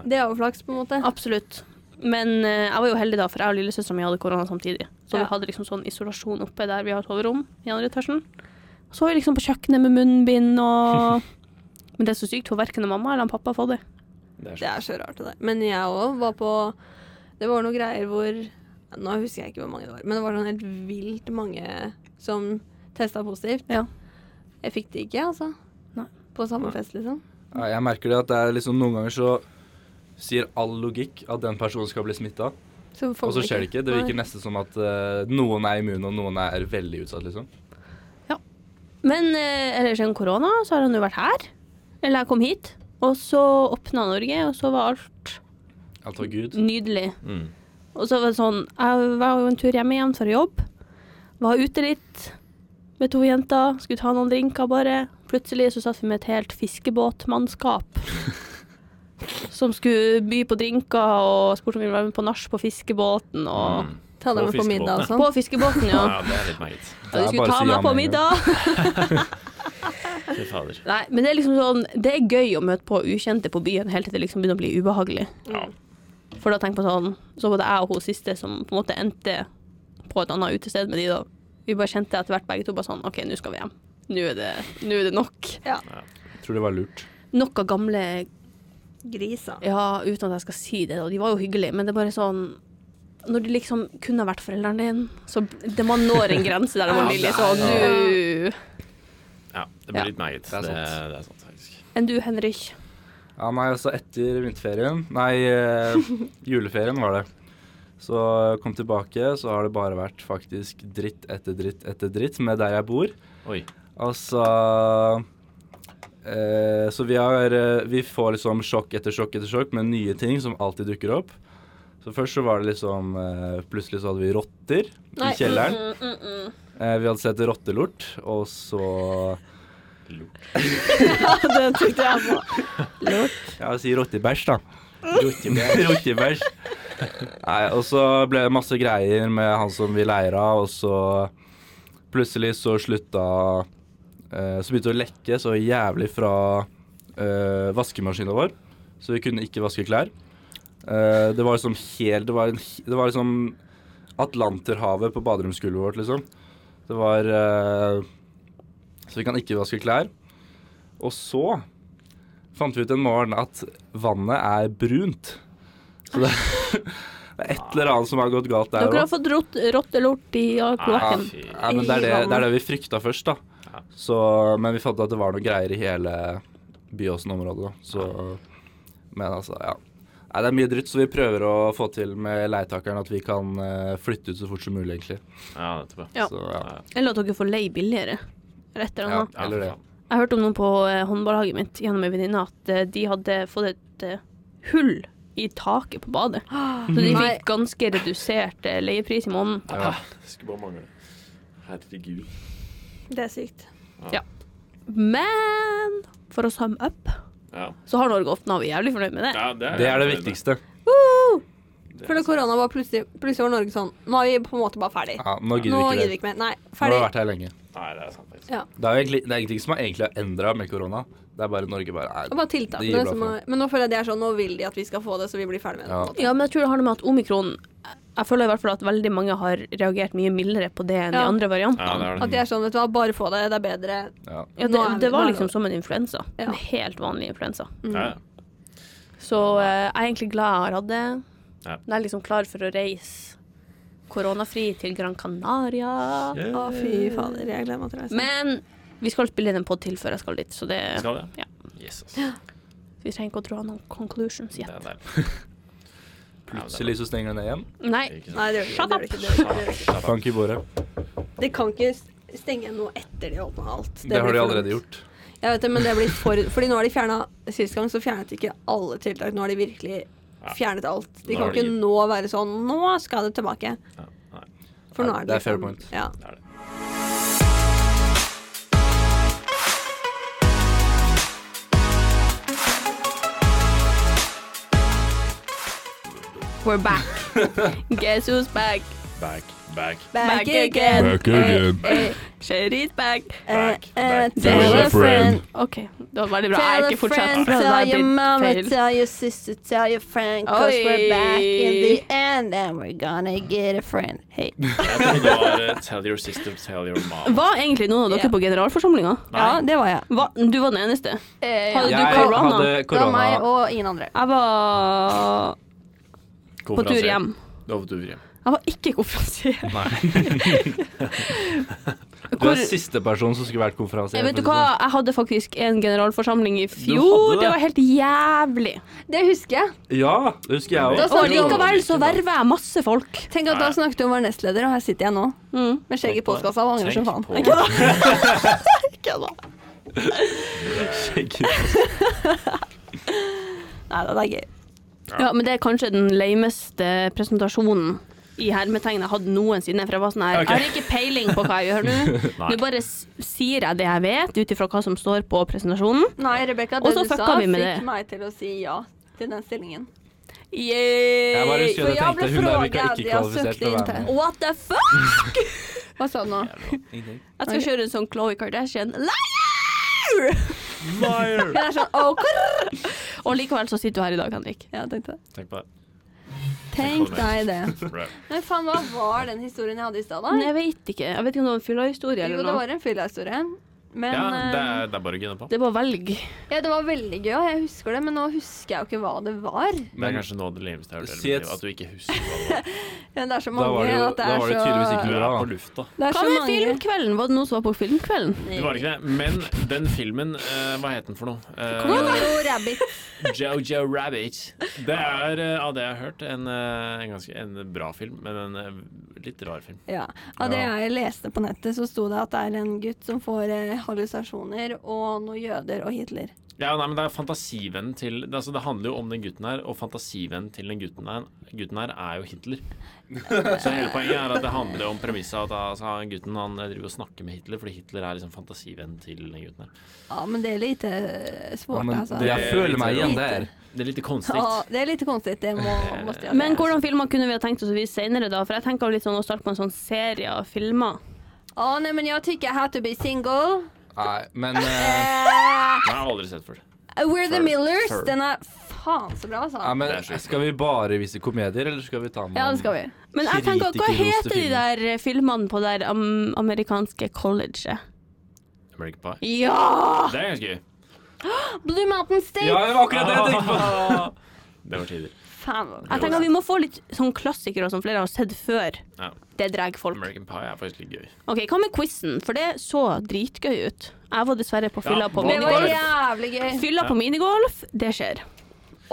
[SPEAKER 4] det er jo flaks, på en måte.
[SPEAKER 1] Absolutt. Men eh, jeg var jo heldig da, for jeg og lillesøstera mi hadde korona samtidig. Så
[SPEAKER 4] Ja.
[SPEAKER 1] vi hadde liksom sånn isolasjon oppe der vi har soverom i andre etasjen. Så var vi liksom på kjøkkenet med munnbind og Men det er så sykt, for verken mamma eller han pappa har fått det.
[SPEAKER 3] Det er
[SPEAKER 4] Det er så rart det der. Men jeg òg var på Det var noen greier hvor Nå husker jeg ikke hvor mange det var, men det var sånn helt vilt mange som testa positivt.
[SPEAKER 1] Ja.
[SPEAKER 4] Jeg fikk det ikke, altså.
[SPEAKER 1] Nei.
[SPEAKER 4] På samme
[SPEAKER 2] Nei.
[SPEAKER 4] fest, liksom.
[SPEAKER 2] Ja, Jeg merker det at det er liksom noen ganger så sier all logikk at den personen skal bli smitta,
[SPEAKER 4] Så får
[SPEAKER 2] og så
[SPEAKER 4] man
[SPEAKER 2] skjer det ikke. Det virker
[SPEAKER 4] Nei.
[SPEAKER 2] nesten som at eh, noen er immune, og noen er veldig utsatt, liksom.
[SPEAKER 1] Men eh, eller siden korona så har han jo vært her. Eller jeg kom hit. Og så åpna Norge, og så var alt
[SPEAKER 2] Alt var Altså, Gud.
[SPEAKER 1] nydelig.
[SPEAKER 3] Mm.
[SPEAKER 1] Og så var det sånn Jeg var jo en tur hjemme igjen fra jobb. Var ute litt med to jenter. Skulle ta noen drinker, bare. Plutselig så satt vi med et helt fiskebåtmannskap. som skulle by på drinker og spurte om vi ville være med på nach på fiskebåten. Og
[SPEAKER 3] Mm.
[SPEAKER 4] Ta
[SPEAKER 3] På
[SPEAKER 4] dem med på middag og sånn.
[SPEAKER 1] På fiskebåten, ja.
[SPEAKER 3] Ja, det er litt meget.
[SPEAKER 1] Og de
[SPEAKER 2] er
[SPEAKER 1] skulle
[SPEAKER 2] bare å
[SPEAKER 1] ta
[SPEAKER 2] si ja
[SPEAKER 1] meg på
[SPEAKER 2] med en gang.
[SPEAKER 1] middag.
[SPEAKER 3] Fy fader.
[SPEAKER 1] Nei, men det er liksom sånn Det er gøy å møte på ukjente på byen helt til det liksom begynner å bli ubehagelig.
[SPEAKER 3] Ja.
[SPEAKER 1] For da tenk på sånn Så var det jeg og hun siste som på en måte endte på et annet utested med de, da. Vi bare kjente etter hvert begge to bare sånn OK, nå skal vi hjem. Nå er det, nå er det nok.
[SPEAKER 2] Tror det var lurt.
[SPEAKER 1] Nok av gamle
[SPEAKER 4] Grisa.
[SPEAKER 1] Ja, uten at jeg skal si det, og de var jo hyggelige, men det er bare sånn når de liksom kunne ha vært foreldrene dine, så det man når en grense der man blir litt sånn Nå
[SPEAKER 3] Ja, det
[SPEAKER 1] Ja.
[SPEAKER 3] blir litt meget.
[SPEAKER 2] Det er
[SPEAKER 3] Det,
[SPEAKER 2] sant.
[SPEAKER 3] det er sant, faktisk.
[SPEAKER 1] Enn du, Henrik?
[SPEAKER 2] Ja, nei, altså etter vinterferien Nei, eh, juleferien var det. Så eh, kom tilbake, så har det bare vært faktisk dritt etter dritt etter dritt med der jeg bor.
[SPEAKER 3] Oi.
[SPEAKER 2] Altså eh, Så vi har eh, Vi får liksom sjokk etter sjokk etter sjokk med nye ting som alltid dukker opp. Så først så var det liksom eh, Plutselig så hadde vi rotter
[SPEAKER 4] Nei.
[SPEAKER 2] i kjelleren. Eh, vi hadde sett rottelort, og så
[SPEAKER 1] Det tenkte jeg på. Lurt.
[SPEAKER 2] Ja, jeg sier rottebæsj, da. Rottebæsj. Nei, og så ble det masse greier med han som vi leira, og så plutselig så slutta eh, Så begynte det å lekke så jævlig fra eh, vaskemaskina vår, så vi kunne ikke vaske klær. Eh, det var liksom helt Det var, en, det var liksom Atlanterhavet på baderomsgulvet vårt, liksom. Det var eh, Så vi kan ikke vaske klær. Og så fant vi ut en morgen at vannet er brunt. Så det, det er et eller annet som har gått galt der
[SPEAKER 1] Dere
[SPEAKER 2] også.
[SPEAKER 1] har fått rott, rottelort i
[SPEAKER 2] Ah,
[SPEAKER 1] kloakken.
[SPEAKER 3] Ah, fy.
[SPEAKER 2] Ja, men det er
[SPEAKER 4] i
[SPEAKER 2] det, det er
[SPEAKER 4] vannet.
[SPEAKER 2] det vi frykta først, da.
[SPEAKER 3] Ja.
[SPEAKER 2] Så, men vi fant ut at det var noen greier i hele Byåsen-området, da. Så Men altså, ja. Nei, det er mye dritt, så vi prøver å få til med leietakeren at vi kan eh, flytte ut så fort som mulig, egentlig.
[SPEAKER 3] Ja, nettopp.
[SPEAKER 1] Ja.
[SPEAKER 2] Så, ja.
[SPEAKER 1] Eller at dere får leie billigere. Eller et eller
[SPEAKER 2] ja.
[SPEAKER 1] annet.
[SPEAKER 2] Eller det.
[SPEAKER 1] Jeg hørte om noen på eh, håndballaget mitt gjennom en venninne at eh, de hadde fått et eh, hull i taket på badet. Så de
[SPEAKER 4] Nei.
[SPEAKER 1] fikk ganske redusert eh, leiepris i måneden.
[SPEAKER 2] Ja.
[SPEAKER 3] Skulle bare mangle. Herregud.
[SPEAKER 4] Det er sykt.
[SPEAKER 1] Men for å summe up,
[SPEAKER 3] Ja.
[SPEAKER 1] så har Norge åpna, og vi er jævlig fornøyd med det.
[SPEAKER 3] ja, det er
[SPEAKER 2] Det er det viktigste.
[SPEAKER 4] For da korona var plutselig Plutselig var Norge sånn Nå er vi på en måte bare ferdig.
[SPEAKER 2] Ja, Ah, nå
[SPEAKER 4] Nå
[SPEAKER 2] gidder vi
[SPEAKER 4] gidder vi
[SPEAKER 2] ikke det.
[SPEAKER 4] ikke mer. Nei,
[SPEAKER 2] Nå har
[SPEAKER 4] ferdig.
[SPEAKER 2] vi vært her lenge.
[SPEAKER 3] Nei, det er sant, faktisk.
[SPEAKER 4] Ja.
[SPEAKER 2] Det er, jo egentlig, det er ingenting som har egentlig har endra med korona. Det er bare Norge bare
[SPEAKER 4] Det var
[SPEAKER 2] er Det
[SPEAKER 4] tiltakene
[SPEAKER 2] gir bra
[SPEAKER 4] som
[SPEAKER 2] for.
[SPEAKER 4] var Men nå føler jeg det er sånn Nå vil de at vi skal få det, så vi blir ferdig med det.
[SPEAKER 2] Ja.
[SPEAKER 4] på en måte.
[SPEAKER 1] Ja, men jeg tror det har noe med at omikron Jeg føler i hvert fall at veldig mange har reagert mye mildere på det enn
[SPEAKER 4] Ja.
[SPEAKER 1] de andre variantene.
[SPEAKER 3] Ja, det er det.
[SPEAKER 4] At de er sånn, vet du hva, bare få det, det er bedre.
[SPEAKER 2] ja.
[SPEAKER 1] Ja,
[SPEAKER 4] Nå er
[SPEAKER 1] det,
[SPEAKER 4] vi-
[SPEAKER 1] det
[SPEAKER 4] nå
[SPEAKER 1] var
[SPEAKER 4] er
[SPEAKER 1] liksom
[SPEAKER 4] det-
[SPEAKER 1] som en influensa.
[SPEAKER 4] Ja.
[SPEAKER 1] En helt vanlig influensa.
[SPEAKER 3] Ja, ja.
[SPEAKER 1] Så eh, jeg er egentlig glad jeg har hatt det.
[SPEAKER 3] Ja.
[SPEAKER 1] Jeg er liksom klar for å reise koronafri til Gran Canaria.
[SPEAKER 4] Å, fy fader, jeg gleder meg til å reise.
[SPEAKER 1] Men vi skal spille inn en pod til før jeg skal dit, så det,
[SPEAKER 3] Skal det?
[SPEAKER 1] Ja.
[SPEAKER 3] Yes, ass. Det
[SPEAKER 1] vi trenger ikke å dra noen conclusions yet.
[SPEAKER 3] er deilig.
[SPEAKER 2] Plutselig så stenger det ned igjen.
[SPEAKER 1] Nei.
[SPEAKER 3] Ikke sant?
[SPEAKER 4] Nei, det gjør det ikke, det gjør det ikke. Det, gjør det ikke.
[SPEAKER 2] Bank i bordet.
[SPEAKER 4] det kan ikke s- stenge noe etter de åpna alt.
[SPEAKER 2] Det har de
[SPEAKER 4] blir for dumt.
[SPEAKER 2] allerede gjort.
[SPEAKER 4] Jeg vet det, men det blir for Fordi nå har de fjerna Sist gang så fjernet de ikke alle tiltak. Nå har de virkelig
[SPEAKER 3] Ja.
[SPEAKER 4] fjernet alt. De
[SPEAKER 3] Nå
[SPEAKER 4] kan
[SPEAKER 3] har de
[SPEAKER 4] ikke
[SPEAKER 3] gitt-
[SPEAKER 4] nå være sånn Nå skal det tilbake.
[SPEAKER 3] Ja, nei,
[SPEAKER 4] For nå
[SPEAKER 2] Nei,
[SPEAKER 4] er det
[SPEAKER 2] det er fair
[SPEAKER 4] liksom-
[SPEAKER 2] point.
[SPEAKER 4] Ja.
[SPEAKER 3] det er det.
[SPEAKER 1] We're back. Guess who's back?
[SPEAKER 3] Back, back.
[SPEAKER 1] Back again.
[SPEAKER 6] Back
[SPEAKER 4] eh,
[SPEAKER 6] again.
[SPEAKER 1] Sherry's back.
[SPEAKER 3] Back, back.
[SPEAKER 6] Tell a friend.
[SPEAKER 1] OK, det var veldig bra. Jeg
[SPEAKER 4] Tell
[SPEAKER 1] har
[SPEAKER 4] a
[SPEAKER 1] ikke fortsatt.
[SPEAKER 4] friend,
[SPEAKER 1] for det
[SPEAKER 4] tell
[SPEAKER 1] har
[SPEAKER 4] your mama,
[SPEAKER 1] blitt feil.
[SPEAKER 4] tell your sister, tell your friend, cause we're back in
[SPEAKER 1] Oi.
[SPEAKER 4] the end, and we're gonna get a friend. Hei.
[SPEAKER 3] Jeg trodde det var eh, Tell your sister, tell your mom.
[SPEAKER 1] Var egentlig noen av dere
[SPEAKER 4] Ja.
[SPEAKER 1] på generalforsamlinga?
[SPEAKER 4] Ja, det var jeg.
[SPEAKER 1] Hva- Du var den eneste.
[SPEAKER 4] Eh,
[SPEAKER 1] Hadde
[SPEAKER 4] ja.
[SPEAKER 1] du
[SPEAKER 2] Jeg
[SPEAKER 1] korona?
[SPEAKER 2] hadde
[SPEAKER 4] Det var meg
[SPEAKER 2] korona.
[SPEAKER 4] og ingen andre.
[SPEAKER 1] Jeg var på tur hjem.
[SPEAKER 3] Du var på tur hjem.
[SPEAKER 1] Jeg var ikke konferansier.
[SPEAKER 2] Du
[SPEAKER 1] Hvor-
[SPEAKER 2] er siste person som skulle vært konferansier.
[SPEAKER 4] eh,
[SPEAKER 1] Vet du
[SPEAKER 2] for å si
[SPEAKER 1] hva,
[SPEAKER 2] det
[SPEAKER 1] jeg hadde faktisk en generalforsamling i fjor.
[SPEAKER 2] det?
[SPEAKER 1] Det var helt jævlig.
[SPEAKER 4] Det husker jeg.
[SPEAKER 2] sånn. Ja, det husker jeg
[SPEAKER 4] Da
[SPEAKER 2] òg.
[SPEAKER 4] sa-
[SPEAKER 1] Og likevel så verver jeg masse folk.
[SPEAKER 4] Tenk at da snakket du om å være nestleder, og her sitter jeg nå.
[SPEAKER 1] Mm.
[SPEAKER 4] Med skjegg i postkassa og angrer som faen.
[SPEAKER 3] Tenk på-
[SPEAKER 4] Nei, det er gøy.
[SPEAKER 1] Ja, men det er kanskje den leimeste presentasjonen i hermetegn jeg hadde noensinne. For jeg var sånn her,
[SPEAKER 3] Ok.
[SPEAKER 1] jeg har ikke peiling på hva jeg gjør nå.
[SPEAKER 3] Nei.
[SPEAKER 1] Nå bare s- sier jeg det jeg vet, ut ifra hva som står på presentasjonen.
[SPEAKER 4] Nei, Rebekka,
[SPEAKER 1] Og
[SPEAKER 4] det
[SPEAKER 1] så
[SPEAKER 4] du sa
[SPEAKER 1] fucka vi
[SPEAKER 4] fikk
[SPEAKER 1] med det.
[SPEAKER 4] meg til å si ja til den stillingen.
[SPEAKER 2] Jeg bare
[SPEAKER 1] Yay!
[SPEAKER 2] husker at jeg
[SPEAKER 4] ble
[SPEAKER 2] tenkte hun er ikke
[SPEAKER 4] frågad,
[SPEAKER 2] ikke
[SPEAKER 4] jeg søkte
[SPEAKER 2] kvalifisert til å være
[SPEAKER 4] intern.
[SPEAKER 2] med.
[SPEAKER 1] What the fuck?
[SPEAKER 4] Hva sa du nå?
[SPEAKER 1] Jeg skal kjøre en sånn Khloe Kardashian.
[SPEAKER 4] Hun er sånn åh, krr.
[SPEAKER 1] Og likevel så sitter du her i dag, Henrik.
[SPEAKER 4] Ja, tenk det.
[SPEAKER 3] Tenk på det.
[SPEAKER 4] Tenk deg det.
[SPEAKER 3] Bra.
[SPEAKER 4] Men faen, hva var den historien jeg hadde i stad, da?
[SPEAKER 1] Men jeg vet ikke. Jeg vet ikke om det var en fyllahistorie
[SPEAKER 4] Jo,
[SPEAKER 1] eller
[SPEAKER 4] det
[SPEAKER 1] noe.
[SPEAKER 4] var en fyllahistorie. Men
[SPEAKER 3] Ja, det
[SPEAKER 4] eh,
[SPEAKER 3] er, det er bare å gunne på.
[SPEAKER 1] Det var velg.
[SPEAKER 4] ja, det var veldig gøy, og jeg husker det, men nå husker jeg jo ikke hva det var.
[SPEAKER 3] Det er kanskje noe av det lameste jeg har hørt.
[SPEAKER 2] Si
[SPEAKER 3] i hele
[SPEAKER 2] et-
[SPEAKER 3] mitt liv, At du ikke husker hva det var.
[SPEAKER 4] Men det er
[SPEAKER 2] Da
[SPEAKER 4] så mange
[SPEAKER 2] var det jo-
[SPEAKER 4] at det
[SPEAKER 2] da
[SPEAKER 4] er
[SPEAKER 2] var det
[SPEAKER 4] så
[SPEAKER 2] tydeligvis ikke
[SPEAKER 3] Du
[SPEAKER 2] noe.
[SPEAKER 3] er på lufta.
[SPEAKER 4] Det er
[SPEAKER 1] Hva
[SPEAKER 4] så
[SPEAKER 1] med
[SPEAKER 4] mange.
[SPEAKER 1] filmkvelden? Var det noen som var på filmkvelden?
[SPEAKER 3] Det var ikke det. Men den filmen, eh, hva het den for noe? Eh,
[SPEAKER 4] Jojo Rabbit.
[SPEAKER 3] Jojo Rabbit. Det er, eh, av det jeg har hørt, en, eh, en ganske en bra film, men en eh, litt rar film.
[SPEAKER 4] Ja. Av det jeg leste på nettet, så sto det at det er en gutt som får eh, hallusinasjoner og noen jøder og Hitler.
[SPEAKER 3] Ja, nei, men Det er fantasivennen til det, altså, det handler jo om den gutten her, og fantasivennen til den gutten her, gutten her er jo Hitler. Så hele poenget er at det handler om premisset at altså, gutten han driver og snakker med Hitler, fordi Hitler er liksom fantasivennen til den gutten her.
[SPEAKER 4] Ja, men det er litt eh, svårt,
[SPEAKER 2] Ja, men
[SPEAKER 4] altså.
[SPEAKER 2] det- jeg føler meg igjen der.
[SPEAKER 3] Det er litt
[SPEAKER 4] ja,
[SPEAKER 3] konstigt.
[SPEAKER 4] det er litt konstig, det må, måtte jeg si.
[SPEAKER 1] Men hvordan filmer kunne vi ha tenkt oss å vise senere, da? For jeg tenker jo litt sånn å starte på en sånn serie av filmer.
[SPEAKER 4] Å, nei, men jeg tykker How to be single.
[SPEAKER 2] Nei, men eh,
[SPEAKER 4] Eh,
[SPEAKER 3] Den har jeg aldri sett før.
[SPEAKER 4] We're the
[SPEAKER 3] Før-
[SPEAKER 4] Millers.
[SPEAKER 3] før.
[SPEAKER 4] Den er faen så bra, altså.
[SPEAKER 2] ja, men
[SPEAKER 3] Det er sjukt.
[SPEAKER 2] Skal vi bare vise komedier, eller skal vi ta med
[SPEAKER 4] Ja, det skal vi.
[SPEAKER 1] Men jeg tenker, hva
[SPEAKER 2] Kritikerroste
[SPEAKER 1] heter de
[SPEAKER 2] filmer.
[SPEAKER 1] der eh, filmene på det der am amerikanske colleget?
[SPEAKER 3] American Pie.
[SPEAKER 1] Ja!
[SPEAKER 3] Det er ganske gøy.
[SPEAKER 4] Blue Mountain State.
[SPEAKER 2] Ja, det var akkurat det jeg tenkte på!
[SPEAKER 3] Det var tider.
[SPEAKER 4] Faen. hva bra.
[SPEAKER 1] Jeg tenker vi må få litt sånn klassikere som flere har sett før.
[SPEAKER 3] Ja.
[SPEAKER 1] Det drar folk.
[SPEAKER 3] American Pie er faktisk litt gøy.
[SPEAKER 1] OK, hva med quizen? For det så dritgøy ut. Jeg var dessverre på fylla
[SPEAKER 3] Ja,
[SPEAKER 1] på
[SPEAKER 3] hva-
[SPEAKER 4] Det var
[SPEAKER 1] minigolf.
[SPEAKER 4] jævlig gøy.
[SPEAKER 1] Fylla på minigolf, det skjer.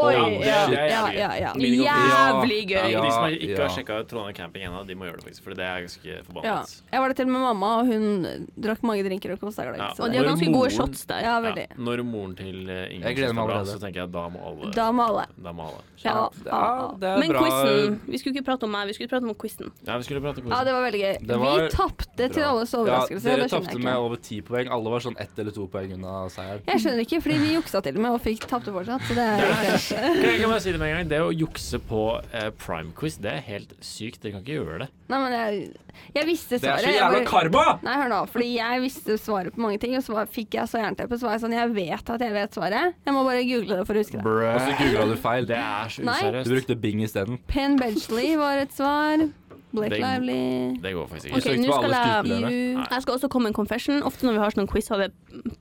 [SPEAKER 4] Oi.
[SPEAKER 3] Ja, det
[SPEAKER 4] Ja,
[SPEAKER 3] er jævlig
[SPEAKER 4] ja,
[SPEAKER 3] gøy.
[SPEAKER 4] ja, ja.
[SPEAKER 3] Minigolf.
[SPEAKER 1] Jævlig
[SPEAKER 2] Ja.
[SPEAKER 1] gøy.
[SPEAKER 3] de som har- ikke
[SPEAKER 2] ja.
[SPEAKER 3] har sjekka ut Trondheim camping ennå, de må gjøre det, faktisk. For det er ganske
[SPEAKER 4] ja.
[SPEAKER 3] forbannet.
[SPEAKER 4] Jeg var der til og med mamma, og hun drakk mange drinker og kosa seg.
[SPEAKER 3] Ja.
[SPEAKER 4] så
[SPEAKER 1] Og de
[SPEAKER 4] det-
[SPEAKER 1] har ganske
[SPEAKER 3] Moren-
[SPEAKER 1] gode shots der.
[SPEAKER 4] Ja,
[SPEAKER 3] Ja,
[SPEAKER 4] veldig.
[SPEAKER 3] Når moren til eh, Ingrid
[SPEAKER 2] Jeg gleder
[SPEAKER 3] skal dra,
[SPEAKER 2] meg
[SPEAKER 3] så
[SPEAKER 2] allerede.
[SPEAKER 3] tenker jeg at da må alle
[SPEAKER 4] Da må alle.
[SPEAKER 3] da må alle.
[SPEAKER 4] Ja,
[SPEAKER 2] Ja, det er
[SPEAKER 1] Men
[SPEAKER 2] bra.
[SPEAKER 1] quizen Vi skulle ikke prate om meg, vi skulle prate om quizen.
[SPEAKER 3] Ja, vi skulle prate om
[SPEAKER 4] ja det var veldig gøy.
[SPEAKER 2] Det var
[SPEAKER 4] vi tapte til alles overraskelse.
[SPEAKER 2] Ja, dere
[SPEAKER 4] det skjønner
[SPEAKER 2] tapte
[SPEAKER 4] jeg
[SPEAKER 2] med
[SPEAKER 4] ikke.
[SPEAKER 2] over ti poeng. Alle var sånn ett eller to poeng unna seieren.
[SPEAKER 4] Jeg skjønner ikke, fordi vi juksa til og med og fikk tapte fortsatt. Så det er ikke
[SPEAKER 3] Jeg kan bare si det med en gang. Det å jukse på eh, prime quiz, det er helt sykt. Dere kan ikke gjøre det.
[SPEAKER 4] Nei, men jeg, jeg visste
[SPEAKER 2] Det er
[SPEAKER 4] svaret.
[SPEAKER 2] så
[SPEAKER 4] jeg
[SPEAKER 2] jævla
[SPEAKER 4] bare-
[SPEAKER 2] karma!
[SPEAKER 4] Nei, hør nå, fordi jeg visste svaret på mange ting, og så var- fikk jeg så jernteppe, så var jeg sånn, jeg vet at jeg vet svaret, jeg må bare google det for å huske det.
[SPEAKER 2] Og så googla du feil.
[SPEAKER 3] Det er så
[SPEAKER 4] Nei.
[SPEAKER 2] Du
[SPEAKER 3] useriøst.
[SPEAKER 2] brukte Bing isteden.
[SPEAKER 4] Penn Benchley var et svar, Blake
[SPEAKER 3] Det-
[SPEAKER 4] Lively,
[SPEAKER 3] Det går faktisk
[SPEAKER 1] Ok,
[SPEAKER 3] ikke.
[SPEAKER 1] nå
[SPEAKER 2] søkte på alle
[SPEAKER 1] skal jeg
[SPEAKER 2] skuespillerne.
[SPEAKER 1] Jo, Jeg skal også komme med en confession. Ofte når vi har sånn quiz av det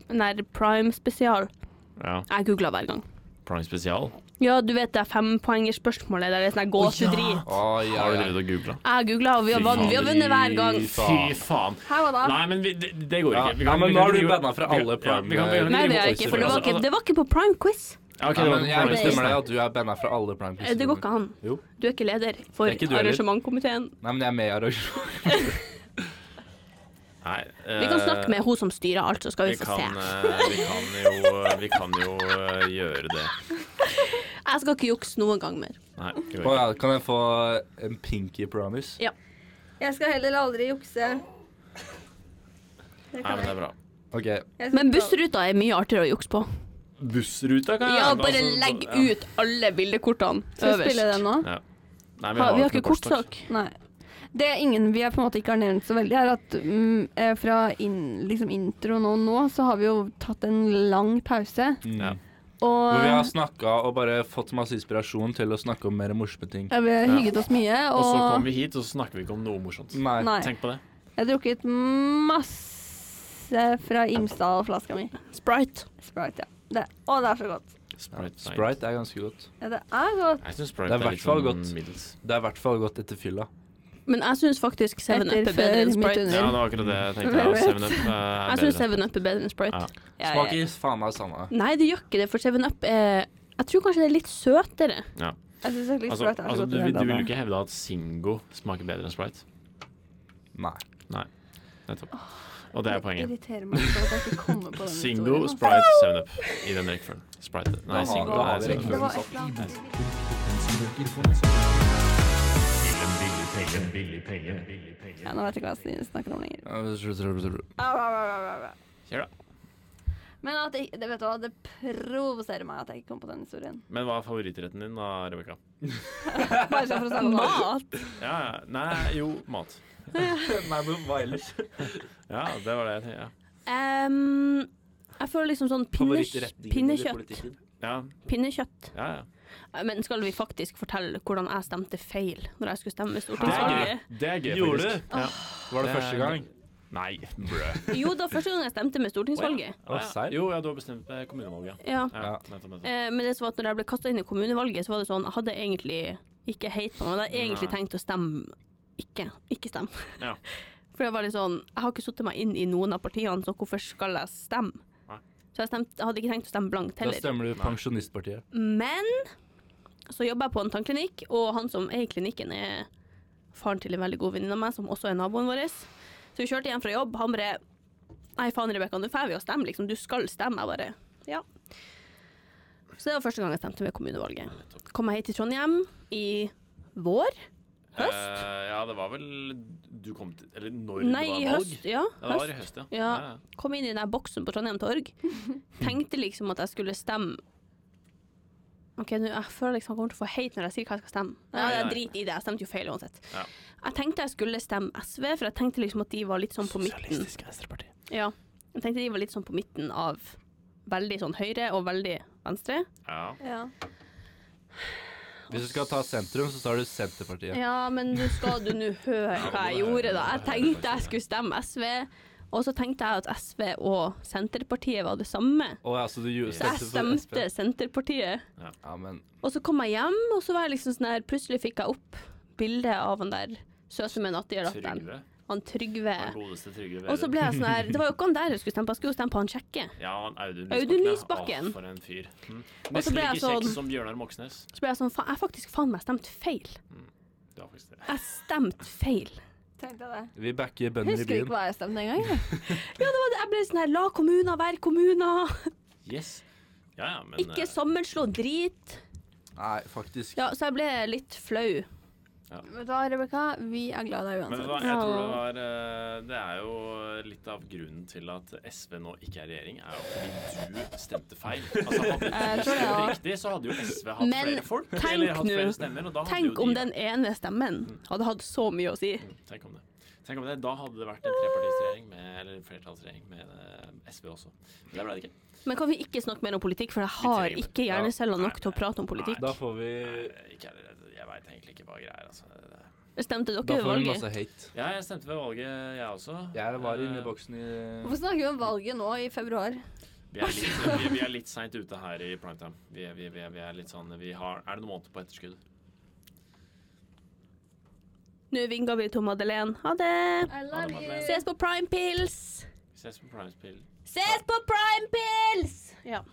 [SPEAKER 1] nær prime spesial,
[SPEAKER 3] Ja.
[SPEAKER 1] jeg googler hver gang.
[SPEAKER 3] Prime spesial.
[SPEAKER 1] Ja, du vet det er fempoengerspørsmålet der det er sånn her gåsehudrit.
[SPEAKER 2] Oi, ja,
[SPEAKER 3] Har du
[SPEAKER 2] ja.
[SPEAKER 3] drevet og googla?
[SPEAKER 1] Jeg googla, og vi har vunnet, vi har vunnet hver gang.
[SPEAKER 3] Fy faen.
[SPEAKER 4] Her var det.
[SPEAKER 3] Nei, men vi, det, det går
[SPEAKER 2] Ja,
[SPEAKER 3] ikke. Vi
[SPEAKER 2] ja,
[SPEAKER 3] kan-
[SPEAKER 2] men
[SPEAKER 3] vi
[SPEAKER 2] nå
[SPEAKER 3] kan
[SPEAKER 2] har
[SPEAKER 3] ikke
[SPEAKER 2] du
[SPEAKER 3] drive-
[SPEAKER 2] banna fra
[SPEAKER 3] ja,
[SPEAKER 2] alle
[SPEAKER 3] ja,
[SPEAKER 2] prime-
[SPEAKER 3] vi kan- vi kan ikke
[SPEAKER 1] Nei,
[SPEAKER 3] drive
[SPEAKER 1] det er
[SPEAKER 3] og
[SPEAKER 1] jeg ikke, for det var
[SPEAKER 3] Altså,
[SPEAKER 1] ikke, det var ikke på prime quiz.
[SPEAKER 3] Ja, ok,
[SPEAKER 2] Ja,
[SPEAKER 3] det var
[SPEAKER 2] men
[SPEAKER 3] på
[SPEAKER 2] jeg
[SPEAKER 3] prime
[SPEAKER 2] bestemmer
[SPEAKER 3] quiz.
[SPEAKER 2] deg at du er banna fra alle prime
[SPEAKER 1] Eh, Det går ikke an.
[SPEAKER 2] Jo.
[SPEAKER 1] Du er ikke leder for
[SPEAKER 2] Det er ikke du heller.
[SPEAKER 1] arrangementkomiteen.
[SPEAKER 2] Nei, men jeg er med i arrangementet.
[SPEAKER 3] Nei, eh,
[SPEAKER 1] Vi kan snakke med hun som styrer alt, så skal
[SPEAKER 3] Vi
[SPEAKER 1] vi få
[SPEAKER 3] kan,
[SPEAKER 1] se.
[SPEAKER 3] eh, vi kan jo, vi kan jo eh, gjøre det.
[SPEAKER 1] Jeg skal ikke jukse noen gang mer.
[SPEAKER 3] Nei, det går
[SPEAKER 2] Å
[SPEAKER 3] ikke.
[SPEAKER 2] ja, kan jeg få en pinky promise?
[SPEAKER 4] Jeg skal heller aldri jukse.
[SPEAKER 3] Nei, men det er bra.
[SPEAKER 2] OK.
[SPEAKER 4] Jeg skal
[SPEAKER 1] Men
[SPEAKER 4] ikke-
[SPEAKER 1] bussruta er mye artigere å jukse på.
[SPEAKER 3] Bussruta kan altså,
[SPEAKER 2] altså,
[SPEAKER 1] Ja, bare legg ut alle bildekortene
[SPEAKER 4] Skal vi spille
[SPEAKER 1] øverst.
[SPEAKER 4] den nå?
[SPEAKER 3] Ja. Nei,
[SPEAKER 1] Ha, vi har ikke
[SPEAKER 3] kortstokk.
[SPEAKER 1] kortstokk.
[SPEAKER 4] Nei. Det ingen vi har på en måte ikke har nevnt så veldig, er at mm, eh, fra inn- liksom introen og nå, så har vi jo tatt en lang pause.
[SPEAKER 3] Ja.
[SPEAKER 2] mm.
[SPEAKER 4] Og
[SPEAKER 2] Hvor vi har
[SPEAKER 4] ja,
[SPEAKER 2] snakka og bare fått masse inspirasjon til å snakke om mer morsomme ting.
[SPEAKER 4] eh, vi har hygget oss mye.
[SPEAKER 3] Og så kommer
[SPEAKER 4] Og
[SPEAKER 3] vi hit, og så snakker vi ikke om noe morsomt.
[SPEAKER 2] Nei.
[SPEAKER 4] Nei.
[SPEAKER 3] Tenk på det.
[SPEAKER 4] jeg har drukket masse fra Imsdal-flaska mi.
[SPEAKER 1] Sprite.
[SPEAKER 4] Sprite, ja. Det, å, det er så godt.
[SPEAKER 3] Sprite. Night.
[SPEAKER 2] Sprite er ganske godt.
[SPEAKER 4] Ja, det er godt.
[SPEAKER 3] Jeg syns Sprite
[SPEAKER 2] Det er
[SPEAKER 3] er,
[SPEAKER 2] i hvert
[SPEAKER 3] litt
[SPEAKER 2] fall
[SPEAKER 3] sånn
[SPEAKER 2] godt.
[SPEAKER 3] middels.
[SPEAKER 2] Det er i hvert fall godt etter fylla.
[SPEAKER 1] Men jeg syns faktisk 7 Up
[SPEAKER 4] Etter
[SPEAKER 1] er bedre enn
[SPEAKER 4] før, midt
[SPEAKER 1] Sprite.
[SPEAKER 4] under.
[SPEAKER 3] Ja, det var akkurat det jeg tenkte. Ja,
[SPEAKER 4] Velvet.
[SPEAKER 3] 7 Up eh, er
[SPEAKER 1] Jeg syns
[SPEAKER 3] bedre.
[SPEAKER 1] 7 Up er bedre enn
[SPEAKER 3] Ja.
[SPEAKER 1] Sprite.
[SPEAKER 4] Ja, ja, ja.
[SPEAKER 2] Smaker faen meg samme.
[SPEAKER 1] Nei, det gjør ikke det, for 7 Up er Jeg tror kanskje det er litt søtere.
[SPEAKER 3] Ja.
[SPEAKER 4] Jeg syns egentlig
[SPEAKER 3] Altså,
[SPEAKER 4] Sprite er så
[SPEAKER 3] altså,
[SPEAKER 4] godt.
[SPEAKER 3] du,
[SPEAKER 4] i
[SPEAKER 3] vil- du
[SPEAKER 4] hele
[SPEAKER 3] vil jo
[SPEAKER 4] tatt.
[SPEAKER 3] ikke hevde at Singo smaker bedre enn Sprite.
[SPEAKER 2] Nei.
[SPEAKER 3] Nettopp. Og det er poenget.
[SPEAKER 4] irriterer meg så at jeg ikke kommer på den
[SPEAKER 3] Singo,
[SPEAKER 4] historien. altså.
[SPEAKER 3] Sprite, 7 Up i den rekkefølgen. Sprite. Nei,
[SPEAKER 2] har-
[SPEAKER 3] Singo
[SPEAKER 2] da har
[SPEAKER 3] er
[SPEAKER 2] vi
[SPEAKER 3] 7 Up.
[SPEAKER 2] rekkefølgen.
[SPEAKER 4] Det var et eller annet. Ja, nå vet jeg ikke hva jeg snakker om lenger. Au, au, au, au, au, au.
[SPEAKER 3] Kjør, da.
[SPEAKER 4] Men at jeg, det, vet du hva, det provoserer meg at jeg ikke kom på den historien.
[SPEAKER 3] Men hva er favorittretten din da, Rebekka?
[SPEAKER 4] Bare sånn for å snakke om mat.
[SPEAKER 3] Ja, ja. nei, jo, mat.
[SPEAKER 2] Nei, men hva ellers?
[SPEAKER 3] Ja, det var det jeg tenkte. Ja.
[SPEAKER 1] Ehm, jeg føler liksom sånn pinnes, pinnekjøtt.
[SPEAKER 3] Ja,
[SPEAKER 1] Pinnekjøtt.
[SPEAKER 3] ja, ja.
[SPEAKER 1] Eh, Men skal vi faktisk fortelle hvordan jeg stemte feil når jeg skulle stemme
[SPEAKER 3] Det er gøy.
[SPEAKER 1] stortingsvalget?
[SPEAKER 3] Det er gøy
[SPEAKER 2] Gjorde
[SPEAKER 3] faktisk. Ja.
[SPEAKER 2] Var det
[SPEAKER 3] Det er-
[SPEAKER 2] første gang?
[SPEAKER 3] Nei, brød.
[SPEAKER 1] Jo, da første gang jeg stemte med stortingsvalget.
[SPEAKER 2] Å, serr?
[SPEAKER 3] Jo, ja, du har bestemt eh, kommunevalget.
[SPEAKER 1] Ja.
[SPEAKER 3] Ja, nettopp, nettopp.
[SPEAKER 1] Eh, Men det som var at når jeg ble kasta inn i kommunevalget, så var det sånn Jeg hadde egentlig ikke heit på meg. men Jeg hadde egentlig
[SPEAKER 3] Nei.
[SPEAKER 1] tenkt å stemme ikke. Ikke stemme.
[SPEAKER 3] Ja.
[SPEAKER 1] For jeg var litt sånn Jeg har ikke satt meg inn i noen av partiene, så hvorfor skal jeg stemme?
[SPEAKER 3] Nei.
[SPEAKER 1] Så jeg, stemte, jeg hadde ikke tenkt å stemme blankt
[SPEAKER 2] Da
[SPEAKER 1] heller.
[SPEAKER 2] stemmer du Pensjonistpartiet.
[SPEAKER 1] Men så jobber jeg på en tannklinikk, og han som er i klinikken, er faren til en veldig god venninne av meg, som også er naboen vår. Så vi kjørte hjem fra jobb. Han bare Nei, faen, Rebekka, nå får vi å stemme, liksom. Du skal stemme. Jeg bare Ja. Så det var første gang jeg stemte ved kommunevalget. Kom jeg hit til Trondheim i vår? Høst?
[SPEAKER 3] Eh, ja, det var vel du kom til Eller når
[SPEAKER 1] Nei,
[SPEAKER 3] det
[SPEAKER 1] i
[SPEAKER 3] var valg?
[SPEAKER 1] høst. Ja,
[SPEAKER 3] Ja, det var
[SPEAKER 1] høst.
[SPEAKER 3] i høst, ja.
[SPEAKER 1] Ja.
[SPEAKER 3] ja.
[SPEAKER 1] Kom inn i den der boksen på Trondheim Torg. Tenkte liksom at jeg skulle stemme OK, nå, jeg føler liksom jeg kommer til å få heit når jeg sier hva jeg skal stemme. Ja,
[SPEAKER 3] Ja,
[SPEAKER 1] jeg
[SPEAKER 3] ja, ja.
[SPEAKER 1] driter i det, jeg stemte jo feil uansett.
[SPEAKER 3] Ja.
[SPEAKER 1] Jeg tenkte jeg skulle stemme SV, for jeg tenkte liksom at de var litt sånn på midten.
[SPEAKER 3] Venstreparti.
[SPEAKER 1] Ja. Jeg tenkte de var litt sånn på midten av veldig sånn høyre og veldig venstre.
[SPEAKER 3] Ja.
[SPEAKER 7] Ja.
[SPEAKER 2] Hvis du skal ta sentrum, så tar du Senterpartiet.
[SPEAKER 1] Ja, men nå skal du nå høre hva jeg gjorde, da. Jeg tenkte jeg skulle stemme SV, og så tenkte jeg at SV og Senterpartiet var det samme.
[SPEAKER 2] Å ja, så altså, du gjorde-
[SPEAKER 1] Så jeg
[SPEAKER 2] stemte for SP.
[SPEAKER 1] stemte Senterpartiet.
[SPEAKER 2] Ja, men
[SPEAKER 1] Og så kom jeg hjem, og så var jeg liksom sånn her Plutselig fikk jeg opp bildet av han der søte med nattigjørdatteren.
[SPEAKER 3] Trygve.
[SPEAKER 1] Han Trygve.
[SPEAKER 3] Den godeste Trygve
[SPEAKER 1] Og så
[SPEAKER 3] Vedum.
[SPEAKER 1] ble jeg sånn her Det var jo ikke han der jeg skulle stemme på, jeg skulle jo stemme på han kjekke.
[SPEAKER 3] Ja, han Audun Lysbakken.
[SPEAKER 1] Audun
[SPEAKER 3] ja.
[SPEAKER 1] Lysbakken.
[SPEAKER 3] Å, for en fyr. Mm.
[SPEAKER 1] Og så
[SPEAKER 3] Nesten
[SPEAKER 1] ble
[SPEAKER 3] like
[SPEAKER 1] jeg sånn-
[SPEAKER 3] kjekk som Bjørnar Moxnes.
[SPEAKER 1] Så ble jeg sånn Faen, jeg har faktisk faen meg stemt feil.
[SPEAKER 3] Det var faktisk det.
[SPEAKER 1] Jeg stemte feil.
[SPEAKER 4] Tenkte jeg det.
[SPEAKER 2] vi backer bønder i
[SPEAKER 4] Husker ikke
[SPEAKER 2] byen.
[SPEAKER 4] hva jeg stemte engang. jeg.
[SPEAKER 1] Og Jeg ble sånn her La kommuner være kommuner.
[SPEAKER 3] Yes. Ja, ja, men eh,
[SPEAKER 1] Ikke sammenslå drit.
[SPEAKER 2] Nei, faktisk.
[SPEAKER 1] Ja, så jeg ble litt flau.
[SPEAKER 4] Vet du hva, Rebekka? Vi er glad i deg
[SPEAKER 3] men vet du
[SPEAKER 4] uansett.
[SPEAKER 3] hva, jeg tror det var eh, Det er jo litt av grunnen til at SV nå ikke er regjering, er jo fordi du stemte feil. Altså, hadde
[SPEAKER 4] Jeg
[SPEAKER 3] du
[SPEAKER 4] tror det,
[SPEAKER 3] stemt
[SPEAKER 4] ja.
[SPEAKER 3] riktig, så hadde jo SV hatt
[SPEAKER 1] Men
[SPEAKER 3] flere folk.
[SPEAKER 1] tenk
[SPEAKER 3] eller hatt
[SPEAKER 1] nå.
[SPEAKER 3] flere stemmer, og da hadde jo
[SPEAKER 1] Tenk
[SPEAKER 3] de
[SPEAKER 1] om
[SPEAKER 3] vært-
[SPEAKER 1] den ene stemmen hadde hatt så mye å si.
[SPEAKER 3] Tenk om det. Tenk om det. Da hadde det vært en trepartisregjering med, eller flertallsregjering med eh, SV også. Men det ble det ikke.
[SPEAKER 1] Men kan vi ikke snakke mer om politikk, for jeg har
[SPEAKER 3] trenger det.
[SPEAKER 1] ikke hjerneceller nok til å prate om politikk.
[SPEAKER 2] Da får vi
[SPEAKER 3] Eh, Ikke heller, jeg veit egentlig ikke hva greia er, altså. Det- det-
[SPEAKER 1] Stemte
[SPEAKER 2] Da
[SPEAKER 1] dere ved
[SPEAKER 2] får vi
[SPEAKER 1] valget?
[SPEAKER 2] masse hate.
[SPEAKER 3] Ja, jeg stemte ved valget, jeg også.
[SPEAKER 2] Jeg var inne
[SPEAKER 3] Eh,
[SPEAKER 2] i boksen i
[SPEAKER 4] Hvorfor snakker vi om valget nå i februar?
[SPEAKER 3] Vi er litt, vi, vi er litt seint ute her i primetime. Vi, er- vi, vi, er- vi er litt sånn vi har, Er det noen måneder på etterskudd?
[SPEAKER 1] Nå vinga vi til Madeleine. Ha det!
[SPEAKER 4] I
[SPEAKER 3] love you.
[SPEAKER 1] Ses på Prime Pills!
[SPEAKER 3] Vi ses på primespill.
[SPEAKER 1] Ses på Prime Pills! Ja.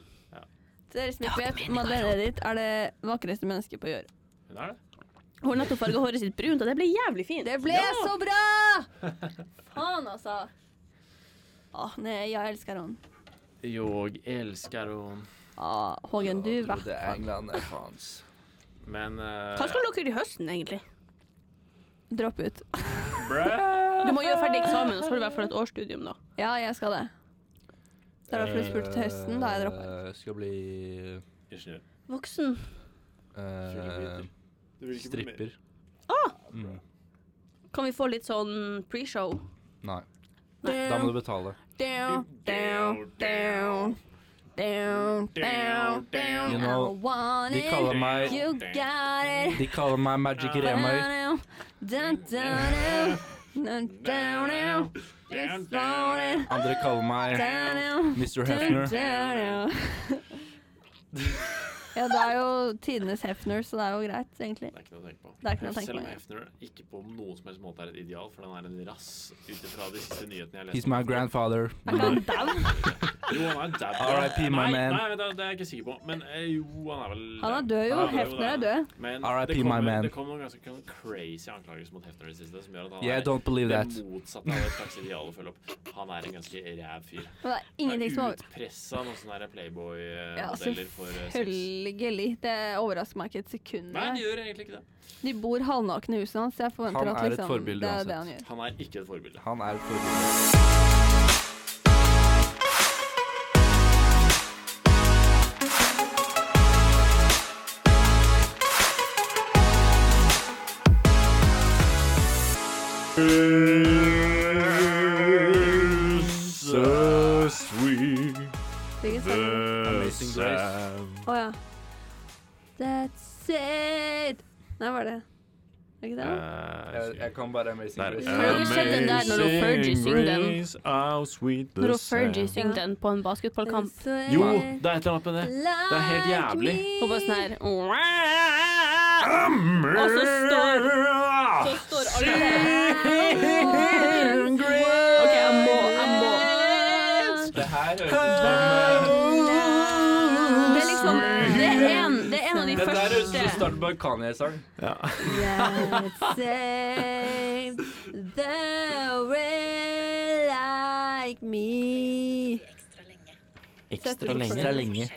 [SPEAKER 4] Til dere som ikke vet, Madeleine Edith er det vakreste mennesket på jord.
[SPEAKER 3] Hun er det.
[SPEAKER 1] Hun har nettopp farga håret sitt brunt, og det ble jævlig fint.
[SPEAKER 4] Det ble så bra! Faen, altså. Åh, Ah, nei, jeg elsker henne.
[SPEAKER 3] Jeg elsker henne.
[SPEAKER 4] Åh, Ah, Hågen, du
[SPEAKER 2] Jo,
[SPEAKER 4] vet.
[SPEAKER 2] Det er England, det er faens.
[SPEAKER 3] Men eh,
[SPEAKER 1] Hva skal dere gjøre i høsten, egentlig?
[SPEAKER 4] Dropp ut.
[SPEAKER 3] brø!
[SPEAKER 1] Du må gjøre ferdig eksamen, og så får du i hvert fall et årsstudium, da.
[SPEAKER 4] Ja, jeg skal det. Det er derfor du spurte til høsten, da har jeg droppet.
[SPEAKER 2] Eh, Skal bli
[SPEAKER 3] Ingeniør.
[SPEAKER 1] Voksen.
[SPEAKER 2] eh,
[SPEAKER 3] Du vil ikke bli
[SPEAKER 2] stripper. Mm.
[SPEAKER 1] Kan vi få litt sånn pre-show?
[SPEAKER 2] Nei. Da må du betale.
[SPEAKER 4] Down, down, down. Down, down, down.
[SPEAKER 2] You know,
[SPEAKER 4] I want
[SPEAKER 2] de kaller
[SPEAKER 4] it.
[SPEAKER 2] meg-
[SPEAKER 4] Mm. You Mm. got it.
[SPEAKER 2] De kaller meg Magic Remøy.
[SPEAKER 4] Down, down, down. Down, down, down. It's falling.
[SPEAKER 2] Andre kaller meg
[SPEAKER 4] Down, down.
[SPEAKER 2] Mr.
[SPEAKER 4] Dun,
[SPEAKER 2] Hefner.
[SPEAKER 4] dun, ja. ja, det er jo tidenes Hefner, så det er jo greit, egentlig.
[SPEAKER 3] Det er ikke noe å tenke på.
[SPEAKER 4] Det er ikke noe å tenke
[SPEAKER 3] Selv om
[SPEAKER 4] på, ja.
[SPEAKER 3] Hefner ikke på noen som helst måte er et ideal, for han er en rass ut ifra de siste nyhetene jeg har
[SPEAKER 2] He's
[SPEAKER 3] lest. om.
[SPEAKER 2] my grandfather.
[SPEAKER 4] Er han dau?
[SPEAKER 3] Jo, han er dab.
[SPEAKER 2] R.I.P., my
[SPEAKER 3] nei,
[SPEAKER 2] man.
[SPEAKER 3] Nei, vet du, det er jeg ikke sikker på. Men eh, jo, han er vel
[SPEAKER 4] Han er død, jo.
[SPEAKER 3] Han
[SPEAKER 4] Hefner er
[SPEAKER 3] det.
[SPEAKER 4] død.
[SPEAKER 3] Men
[SPEAKER 2] R.I.P.,
[SPEAKER 3] det kommer-
[SPEAKER 2] my man.
[SPEAKER 3] Det kom noen ganske noen crazy anklagelser mot Hefner i det siste, som gjør at han
[SPEAKER 2] Yeah,
[SPEAKER 3] er
[SPEAKER 2] don't believe that.
[SPEAKER 3] det motsatte av et slags ideal å følge opp. Han er en ganske ræv fyr.
[SPEAKER 4] Og det er ingenting som
[SPEAKER 3] Han
[SPEAKER 4] over...
[SPEAKER 3] er utpressa noen sånne der
[SPEAKER 4] Ja,
[SPEAKER 3] Playboy-modeller for eh, sex.
[SPEAKER 4] selvfølgelig. Det overrasker meg ikke et sekund.
[SPEAKER 3] Nei, han gjør egentlig ikke det.
[SPEAKER 4] De bor halvnakne i huset hans. Jeg forventer
[SPEAKER 2] Han
[SPEAKER 4] at
[SPEAKER 2] er et
[SPEAKER 4] liksom,
[SPEAKER 2] forbilde
[SPEAKER 4] det er
[SPEAKER 2] uansett.
[SPEAKER 4] det han gjør.
[SPEAKER 3] Han er ikke et forbilde.
[SPEAKER 2] Han er et forbilde.
[SPEAKER 4] Hvilken sang?
[SPEAKER 2] Amazing Grace.
[SPEAKER 7] Å ja.
[SPEAKER 4] That's it. Nei, var det Er
[SPEAKER 2] Eh,
[SPEAKER 4] ikke det?
[SPEAKER 2] Jeg, jeg kan bare Amazing
[SPEAKER 3] Der.
[SPEAKER 2] Grace.
[SPEAKER 1] Har dere sett den der når Fergie synger den? Når Fergie
[SPEAKER 3] Jo,
[SPEAKER 1] synger den på en basketballkamp.
[SPEAKER 3] det er et eller annet med det. Det er helt jævlig.
[SPEAKER 1] Hun bare sånn her Og så står Så står alle OK, jeg må, jeg må.
[SPEAKER 2] Det her høres ut som
[SPEAKER 1] Det er liksom Det er en, det er en av de
[SPEAKER 2] Det der høres ut som
[SPEAKER 1] første
[SPEAKER 2] starten på en Kanye-sang.
[SPEAKER 4] Let's save the real like me.
[SPEAKER 8] Ekstra lenge. Ekstra lenge.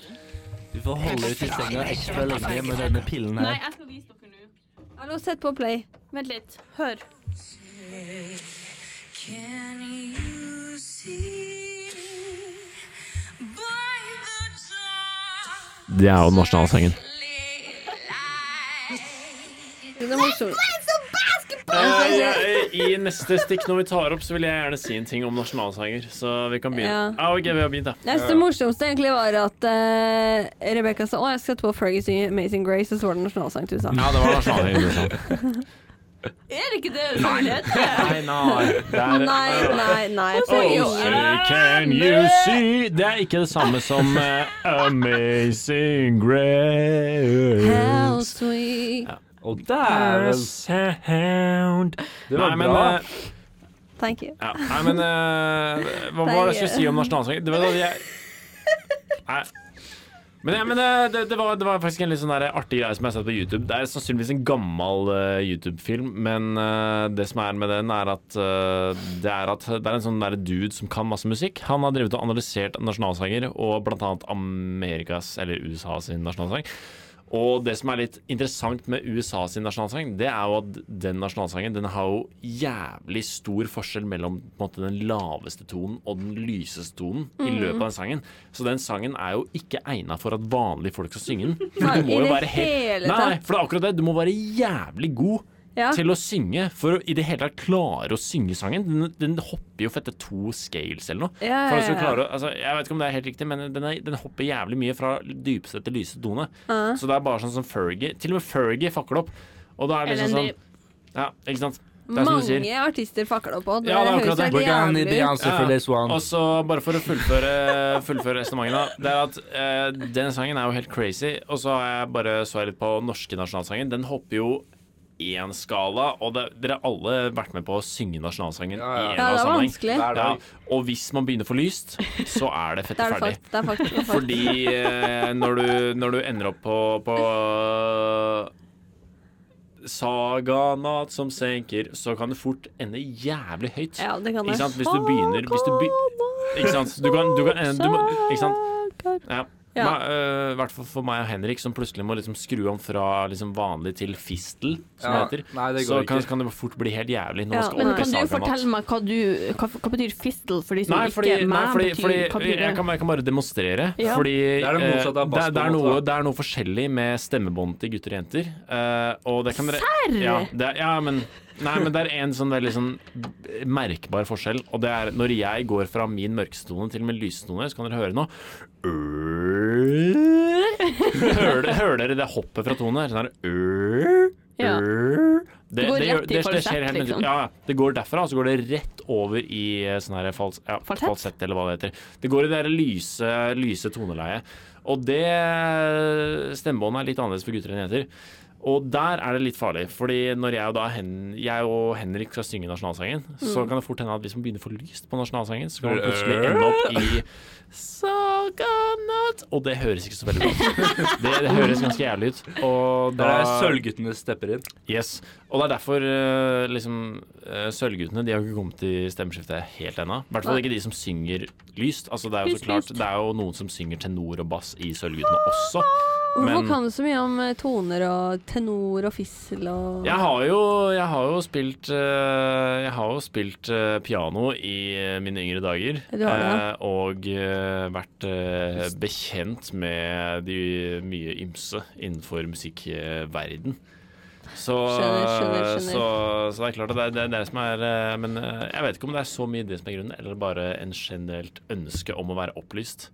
[SPEAKER 8] Du får holde ut i senga ekstra lenge med denne pillen
[SPEAKER 1] Nei,
[SPEAKER 8] her.
[SPEAKER 1] jeg skal vise dere nå.
[SPEAKER 4] Hallo, sett på play.
[SPEAKER 1] Vent litt. Hør.
[SPEAKER 9] Can you see by the dawn
[SPEAKER 3] Det er jo nasjonalsangen.
[SPEAKER 4] Den er morsom.
[SPEAKER 3] I neste stikk når vi tar opp, så vil jeg gjerne si en ting om nasjonalsanger. Så vi kan begynne.
[SPEAKER 4] Ja.
[SPEAKER 3] Ah, ok, vi har begynt, da.
[SPEAKER 4] Jeg synes det morsomste egentlig var at uh, Rebekka sa å, jeg skal på Fergie synge Amazing Grace, og så var det nasjonalsang til
[SPEAKER 3] Ja,
[SPEAKER 4] USA.
[SPEAKER 3] det sånn. var nasjonalsangen.
[SPEAKER 1] Er ikke det sånn det heter?
[SPEAKER 3] Nei, nei. Det er,
[SPEAKER 4] Nei, nei, nei. Fergie.
[SPEAKER 3] Oh, say, can you see Det er ikke det samme som eh, Amazing Grace.
[SPEAKER 4] How sweet.
[SPEAKER 2] Og dæven!
[SPEAKER 3] Sound.
[SPEAKER 2] Det var
[SPEAKER 3] Nei, men,
[SPEAKER 2] bra.
[SPEAKER 3] eh,
[SPEAKER 4] Thank you.
[SPEAKER 3] ja, nei, men eh, Hva var det jeg skulle si om nasjonalsangen? Det var da jeg Nei. Men, ja, men eh, det, det, var, det var faktisk en litt sånn der artig greie som jeg har sett på YouTube. Det er sannsynligvis en gammel eh, YouTube-film, men eh, det som er med den, er at, eh, det er at det er en sånn der dude som kan masse musikk. Han har drevet og analysert nasjonalsanger, og blant annet Amerikas, eller USA sin nasjonalsang. Og det som er litt interessant med USA sin nasjonalsang, det er jo at den nasjonalsangen den har jo jævlig stor forskjell mellom på en måte, den laveste tonen og den lyseste tonen i
[SPEAKER 4] Mm.
[SPEAKER 3] løpet av den sangen. Så den sangen er jo ikke egna for at vanlige folk skal synge den. For
[SPEAKER 4] Nei,
[SPEAKER 3] du må
[SPEAKER 4] i
[SPEAKER 3] jo
[SPEAKER 4] det
[SPEAKER 3] være helt
[SPEAKER 4] hele
[SPEAKER 3] Nei, nei,
[SPEAKER 4] tatt.
[SPEAKER 3] for det er akkurat det. Du må være jævlig god
[SPEAKER 4] Ja.
[SPEAKER 3] til å synge for å i det hele tatt klare å synge sangen. Den, den hopper jo for etter to scales eller noe.
[SPEAKER 4] Ja,
[SPEAKER 3] For
[SPEAKER 4] ja,
[SPEAKER 3] at du skal
[SPEAKER 4] ja.
[SPEAKER 3] klare å, altså, jeg vet ikke om det er helt riktig, men den, er, den hopper jævlig mye fra dypeste til lyse tone.
[SPEAKER 4] Ah.
[SPEAKER 3] Så det er bare sånn som Fergie Til og med Fergie fucker det opp. Og da er det liksom sånn
[SPEAKER 1] Elendig.
[SPEAKER 3] Ja, ikke sant? Det er som du sier.
[SPEAKER 4] Mange artister fakler opp, og det
[SPEAKER 3] Ja, det er akkurat
[SPEAKER 4] høres
[SPEAKER 3] det.
[SPEAKER 4] helt
[SPEAKER 2] We're gonna need
[SPEAKER 4] jævlig ut.
[SPEAKER 2] Beyoncé for this one.
[SPEAKER 3] Og så bare for å fullføre, fullføre resonnementet, da. Det er at eh, den sangen er jo helt crazy, og så har jeg bare så jeg litt på norske nasjonalsangen. Den hopper jo én skala, og det, dere har alle vært med på å synge nasjonalsangen
[SPEAKER 2] Ja, ja.
[SPEAKER 3] i en
[SPEAKER 4] Ja,
[SPEAKER 3] eller
[SPEAKER 4] det er
[SPEAKER 3] annen
[SPEAKER 4] vanskelig.
[SPEAKER 2] Hver
[SPEAKER 3] Ja,
[SPEAKER 2] dag.
[SPEAKER 3] og hvis man begynner for lyst, så er det fett
[SPEAKER 4] Det er det
[SPEAKER 3] ferdig.
[SPEAKER 4] fakt- det er faktisk det er fakt.
[SPEAKER 3] Fordi eh, når, du, når du ender opp på, på Saganatt som senker, så kan det fort ende jævlig høyt.
[SPEAKER 4] Ja, det kan det.
[SPEAKER 3] eh, Ikke sant? Hvis du begynner hvis du, be, ikke sant? Du kan, du kan, eh, du må, ikke sant? Ja.
[SPEAKER 7] Ja.
[SPEAKER 3] Men, eh, I hvert fall for meg og Henrik, som plutselig må liksom skru om fra liksom vanlig til fistel, som
[SPEAKER 2] Ja,
[SPEAKER 3] det heter.
[SPEAKER 2] nei, det
[SPEAKER 3] så
[SPEAKER 2] går
[SPEAKER 3] kan,
[SPEAKER 2] ikke.
[SPEAKER 3] kan det fort bli helt jævlig. Nå
[SPEAKER 7] Ja,
[SPEAKER 3] skal
[SPEAKER 7] men
[SPEAKER 3] opp i
[SPEAKER 7] kan
[SPEAKER 1] Kan du
[SPEAKER 3] Sagamatt.
[SPEAKER 1] fortelle meg hva, du, hva, hva betyr fistel for de som
[SPEAKER 3] Nei, fordi,
[SPEAKER 1] ikke
[SPEAKER 3] nei,
[SPEAKER 1] meg
[SPEAKER 3] fordi,
[SPEAKER 1] betyr,
[SPEAKER 3] fordi
[SPEAKER 1] hva betyr det?
[SPEAKER 3] jeg, kan, jeg kan bare demonstrere.
[SPEAKER 1] Ja.
[SPEAKER 3] Fordi
[SPEAKER 2] Det er det
[SPEAKER 3] eh,
[SPEAKER 2] motsatte av altså.
[SPEAKER 3] det,
[SPEAKER 2] bass,
[SPEAKER 3] er- det,
[SPEAKER 2] på en
[SPEAKER 3] er
[SPEAKER 2] måte,
[SPEAKER 3] noe,
[SPEAKER 2] da.
[SPEAKER 3] det er noe forskjellig med stemmebånd til gutter og jenter. Eh, og det kan dere
[SPEAKER 1] Serr?
[SPEAKER 3] Ja, det, er- ja, men Nei, men det er en sånn veldig sånn merkbar forskjell, og det er når jeg går fra min mørkestone til min lystone, så kan dere høre nå Hører, dere- hører dere det hoppet fra tonen her? Sånn her øh,
[SPEAKER 1] Ja.
[SPEAKER 3] øh. det,
[SPEAKER 1] Det går
[SPEAKER 3] gjør-
[SPEAKER 1] rett i falsett,
[SPEAKER 3] skjer helt
[SPEAKER 1] liksom.
[SPEAKER 3] Ja, ja. det går derfra, så går det rett over i eh, sånn her fals, ja,
[SPEAKER 1] Falsett?
[SPEAKER 3] falsett, eller hva det heter. Det går i det her lyse, lyse toneleiet. Og det stemmebåndet er litt annerledes for gutter enn jenter. Og der er det litt farlig, fordi når jeg og, da Hen jeg og Henrik skal synge nasjonalsangen,
[SPEAKER 1] Mm.
[SPEAKER 3] så kan det fort hende at hvis man begynner for lyst på nasjonalsangen, så kan man plutselig ende opp i Saganat Og det høres ikke så veldig bra ut. Det, det høres ganske jævlig ut. Og
[SPEAKER 2] Det
[SPEAKER 3] da
[SPEAKER 2] er der Sølvguttene stepper inn.
[SPEAKER 3] Yes. Og det er derfor eh, liksom eh, Sølvguttene de har ikke kommet i stemmeskiftet helt ennå. I hvert fall ikke de som synger lyst. Altså, det, er jo så
[SPEAKER 1] Lyst,
[SPEAKER 3] klart,
[SPEAKER 1] lyst.
[SPEAKER 3] det er jo noen som synger tenor og bass i Sølvguttene også.
[SPEAKER 4] Hvorfor
[SPEAKER 3] Men-
[SPEAKER 4] kan du så mye om eh, toner og tenor og fissel og
[SPEAKER 3] Jeg har jo, jeg har jo spilt eh, Jeg har jo spilt eh, piano i eh, mine yngre dager.
[SPEAKER 4] Du har det, ja.
[SPEAKER 3] eh, og eh, vært eh, bekjent med de mye ymse innenfor musikkverden. Så, eh,
[SPEAKER 4] Skjønner, skjønner, skjønner.
[SPEAKER 3] Så, så det er klart at det er- det er det som er eh, Men eh, jeg vet ikke om det er så mye det som er grunnen, eller bare en generelt ønske om å være opplyst.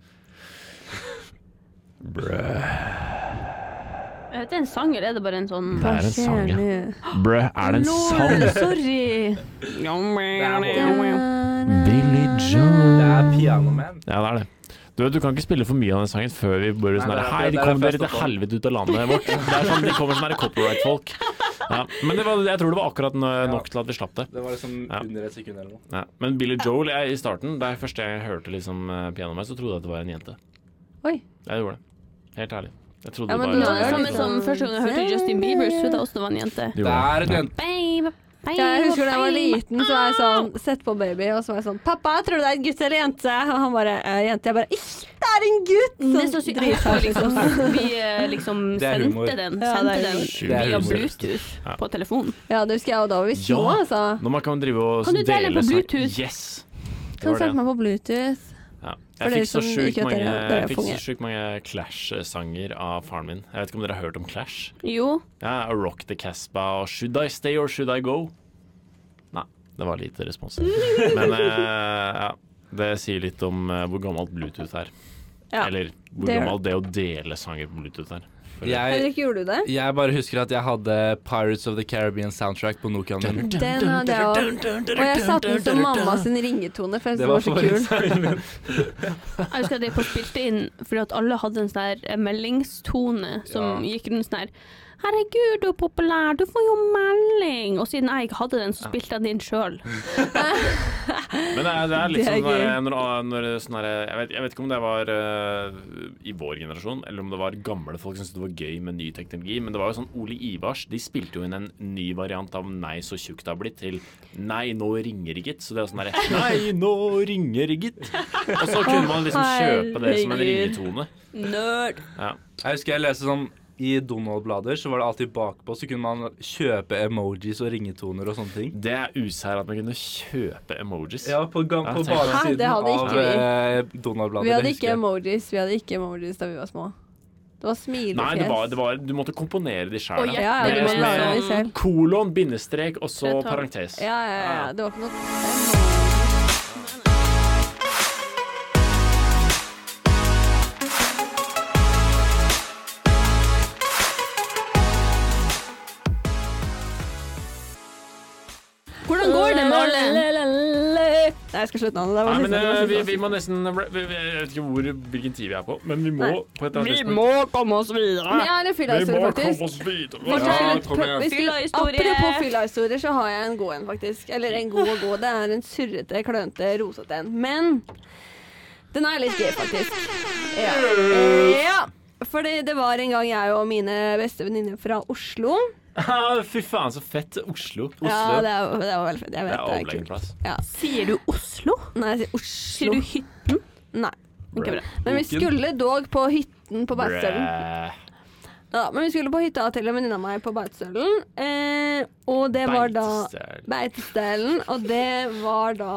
[SPEAKER 1] Er det en sang, eller er det bare en sånn
[SPEAKER 3] Det er en sang, ja.
[SPEAKER 4] Kjærlig.
[SPEAKER 3] Brø, er det en sang?
[SPEAKER 4] Lord, sorry.
[SPEAKER 1] Mm.
[SPEAKER 3] Billy Joe.
[SPEAKER 2] Det er pianoman.
[SPEAKER 3] Ja, det er det. Du vet, du kan ikke spille for mye av den sangen før vi bare sånn her
[SPEAKER 2] Nei, det er-
[SPEAKER 3] Hei,
[SPEAKER 2] det
[SPEAKER 3] de
[SPEAKER 2] er
[SPEAKER 3] kommer dere
[SPEAKER 2] fest
[SPEAKER 3] til
[SPEAKER 2] oppå.
[SPEAKER 3] helvete ut av landet vårt. Det er sånn, De kommer sånn her copyright-folk. Ja, men det var, jeg tror det var akkurat nå- nok til at vi slapp det.
[SPEAKER 2] Det var liksom
[SPEAKER 3] Ja.
[SPEAKER 2] under et sekund eller noe.
[SPEAKER 3] Ja. Men Billy Joel jeg, i starten, da jeg første gang jeg hørte liksom, eh, pianoet mitt, så trodde jeg at det var en jente.
[SPEAKER 4] Oi.
[SPEAKER 3] Jeg gjorde det. Helt ærlig. Jeg trodde
[SPEAKER 4] Ja,
[SPEAKER 3] det
[SPEAKER 4] men
[SPEAKER 1] Det
[SPEAKER 4] du
[SPEAKER 3] var
[SPEAKER 1] var det liksom-
[SPEAKER 4] er
[SPEAKER 1] samme
[SPEAKER 4] litt
[SPEAKER 1] som
[SPEAKER 4] sånn-
[SPEAKER 1] første gang jeg hørte Justin Bieber, så trodde jeg også det var en jente.
[SPEAKER 3] Du gjorde
[SPEAKER 2] Det er
[SPEAKER 3] det.
[SPEAKER 2] en jente.
[SPEAKER 1] Babe, babe,
[SPEAKER 4] Jeg husker da jeg var
[SPEAKER 1] babe.
[SPEAKER 4] liten, så var jeg sånn Sett på baby, og så var jeg sånn Pappa, tror du det er en gutt eller jente? Og han bare «Eh, Jente. Jeg bare «Ikk, Det er en gutt! Sånn
[SPEAKER 1] Mm, Det er så sykt. Jeg
[SPEAKER 4] dritsær,
[SPEAKER 1] husker liksom, vi eh, liksom
[SPEAKER 2] Det er humor.
[SPEAKER 1] sendte den, sendte
[SPEAKER 4] Ja, det er
[SPEAKER 1] den
[SPEAKER 2] Det er
[SPEAKER 1] via
[SPEAKER 2] humor.
[SPEAKER 1] Bluetooth
[SPEAKER 3] Ja.
[SPEAKER 1] på telefonen.
[SPEAKER 4] Ja, det husker jeg, og da var vi små,
[SPEAKER 3] Ja.
[SPEAKER 4] altså.
[SPEAKER 3] Når man kan drive og
[SPEAKER 1] Kan du dele på
[SPEAKER 3] seg-
[SPEAKER 1] Bluetooth?
[SPEAKER 3] Yes! Det
[SPEAKER 4] Kan
[SPEAKER 3] var
[SPEAKER 4] du
[SPEAKER 3] det.
[SPEAKER 4] sette meg på Bluetooth?
[SPEAKER 3] Ja.
[SPEAKER 4] For
[SPEAKER 3] Jeg
[SPEAKER 4] dere
[SPEAKER 3] fikk så
[SPEAKER 4] som
[SPEAKER 3] sjukt
[SPEAKER 4] ikke vet det,
[SPEAKER 3] mange,
[SPEAKER 4] ja, dere
[SPEAKER 3] jeg fikk så
[SPEAKER 4] fanger.
[SPEAKER 3] sjukt mange Clash-sanger av faren min. Jeg vet ikke om dere har hørt om Clash?
[SPEAKER 1] Jo.
[SPEAKER 3] Ja, og Rock the Casbah og Should I stay or should I go? Nei, det var lite respons. Men eh, ja, det sier litt om eh, hvor gammelt Bluetooth er.
[SPEAKER 7] Ja.
[SPEAKER 3] Eller hvor
[SPEAKER 4] Det-
[SPEAKER 3] gammelt det å dele sanger på Bluetooth er. For-
[SPEAKER 2] Jeg,
[SPEAKER 4] Henrik, gjorde du det?
[SPEAKER 2] jeg bare husker at jeg hadde Pirates of the Caribbean soundtrack på Nokian min.
[SPEAKER 4] Den hadde jeg også. Og jeg satte den som mamma sin ringetone, for jeg
[SPEAKER 2] Det
[SPEAKER 4] syntes
[SPEAKER 2] var
[SPEAKER 4] den var så kul.
[SPEAKER 1] Jeg husker at jeg på spilte inn fordi at alle hadde en sånn her eh, meldingstone som
[SPEAKER 2] Ja.
[SPEAKER 1] gikk rundt sånn her Herregud, du er populær, du får jo melding! Og siden jeg ikke hadde den, så spilte jeg den inn sjøl.
[SPEAKER 3] Men det er, det er litt
[SPEAKER 4] Det er
[SPEAKER 3] sånn der, når, når sånn der, jeg, vet, jeg vet ikke om det var eh, i vår generasjon, eller om det var gamle folk som syntes det var gøy med ny teknologi, men det var jo sånn Ole Ivars De spilte jo inn en ny variant av 'Nei, så tjukk det har blitt' til 'Nei, nå ringer det, gitt'. Så det er sånn derre 'Nei, nå ringer det, gitt'. Og så kunne man liksom kjøpe det som en
[SPEAKER 1] Herregud.
[SPEAKER 3] ringetone.
[SPEAKER 1] Nerd.
[SPEAKER 3] Ja.
[SPEAKER 2] Jeg husker jeg leste sånn i Donald-blader så var det alltid bakpå, så kunne man kjøpe emojis og ringetoner og sånne ting.
[SPEAKER 3] Det er usær at man kunne kjøpe emojis.
[SPEAKER 2] Ja, på, gang,
[SPEAKER 3] Ja,
[SPEAKER 2] på
[SPEAKER 3] tenk meg.
[SPEAKER 4] Hæ? Det
[SPEAKER 2] baksiden
[SPEAKER 4] hadde ikke
[SPEAKER 2] av
[SPEAKER 4] vi.
[SPEAKER 2] eh,
[SPEAKER 4] Vi
[SPEAKER 2] Donald-bladet.
[SPEAKER 4] hadde
[SPEAKER 2] det
[SPEAKER 4] ikke
[SPEAKER 2] husker jeg.
[SPEAKER 4] emojis, vi hadde ikke emojis da vi var små. Det var smilefjes.
[SPEAKER 3] Nei, det var, det var, du måtte komponere de sjæl.
[SPEAKER 1] Og
[SPEAKER 4] Ja, ja,
[SPEAKER 1] Det
[SPEAKER 4] det
[SPEAKER 1] er
[SPEAKER 4] var
[SPEAKER 1] sånn-
[SPEAKER 4] laget vi selv.
[SPEAKER 3] Kolon, bindestrek og så
[SPEAKER 1] Jeg tar-
[SPEAKER 3] parentes.
[SPEAKER 4] Ja, ja, ja. Det var ikke noe
[SPEAKER 1] Hvordan går det med alle?
[SPEAKER 4] Nei, jeg skal slutte nå. Det var
[SPEAKER 3] Nei, men
[SPEAKER 4] siste, det
[SPEAKER 3] eh,
[SPEAKER 4] var
[SPEAKER 3] vi,
[SPEAKER 4] siste.
[SPEAKER 3] vi må nesten vi, vi, Jeg vet ikke hvor, hvilken tid vi er på, men vi må på et eller annet tidspunkt.
[SPEAKER 1] må komme oss videre.
[SPEAKER 4] Men jeg har en fyllahistorie, faktisk.
[SPEAKER 3] oss videre.
[SPEAKER 4] Fortell litt
[SPEAKER 2] kom igjen.
[SPEAKER 4] hvis du-
[SPEAKER 1] Fyllahistorie.
[SPEAKER 4] Apropos fyllahistorier, så har jeg en god en, faktisk. Eller en god og god. Det er en surrete, klønete, rosete en. Men den er litt gøy, faktisk. Ja. ja. Fordi det var en gang jeg og mine beste venninner fra Oslo
[SPEAKER 3] Fy faen, så fett. Oslo.
[SPEAKER 4] Ja, det er, det var veldig fett.
[SPEAKER 3] Det
[SPEAKER 4] Jeg
[SPEAKER 3] er
[SPEAKER 4] vet det er,
[SPEAKER 3] overlegen
[SPEAKER 4] kult.
[SPEAKER 3] plass.
[SPEAKER 1] Sier du Oslo?
[SPEAKER 4] Nei, jeg sier
[SPEAKER 1] Sier
[SPEAKER 4] Oslo.
[SPEAKER 1] du hytten?
[SPEAKER 4] Nei.
[SPEAKER 1] Ok, bra.
[SPEAKER 4] Men vi skulle dog på hytta natten på Beitostølen.
[SPEAKER 3] Bræ.
[SPEAKER 4] Ja, men vi skulle på hytta til en venninne av meg på Beitostølen, eh, og det var da
[SPEAKER 3] Beitestøl.
[SPEAKER 4] Beitestølen, og det var da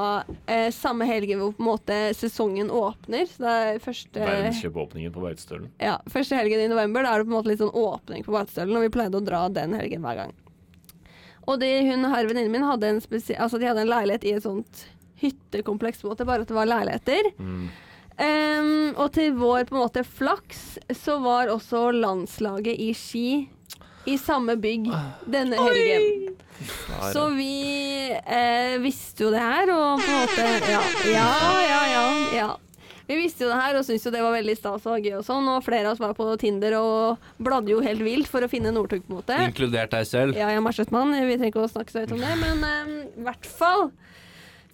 [SPEAKER 4] eh, samme helgen hvor på en måte sesongen åpner. Så det er første
[SPEAKER 3] Verdenskjøpeåpningen på Beitostølen.
[SPEAKER 4] ja, første helgen i november, da er det på en måte litt sånn åpning på Beitostølen, og vi pleide å dra den helgen hver gang. Og det hun her, venninnen min, hadde en spesiell Altså, de hadde en leilighet i et sånt hyttekompleks, på en måte, bare at det var leiligheter. Ehm, og til vår på en måte flaks så var også landslaget i ski i samme bygg denne helgen. Så vi eh, visste jo det her, og på en måte Ja, ja, ja. ja, ja. Vi visste jo det her og syntes jo det var veldig stas og gøy og sånn, og flere av oss var på Tinder og bladde jo helt vilt for å finne Northug, på en måte.
[SPEAKER 2] Inkludert deg selv.
[SPEAKER 4] Ja, jeg er marsjetmann. Vi trenger ikke å snakke så høyt om det. Men eh, i hvert fall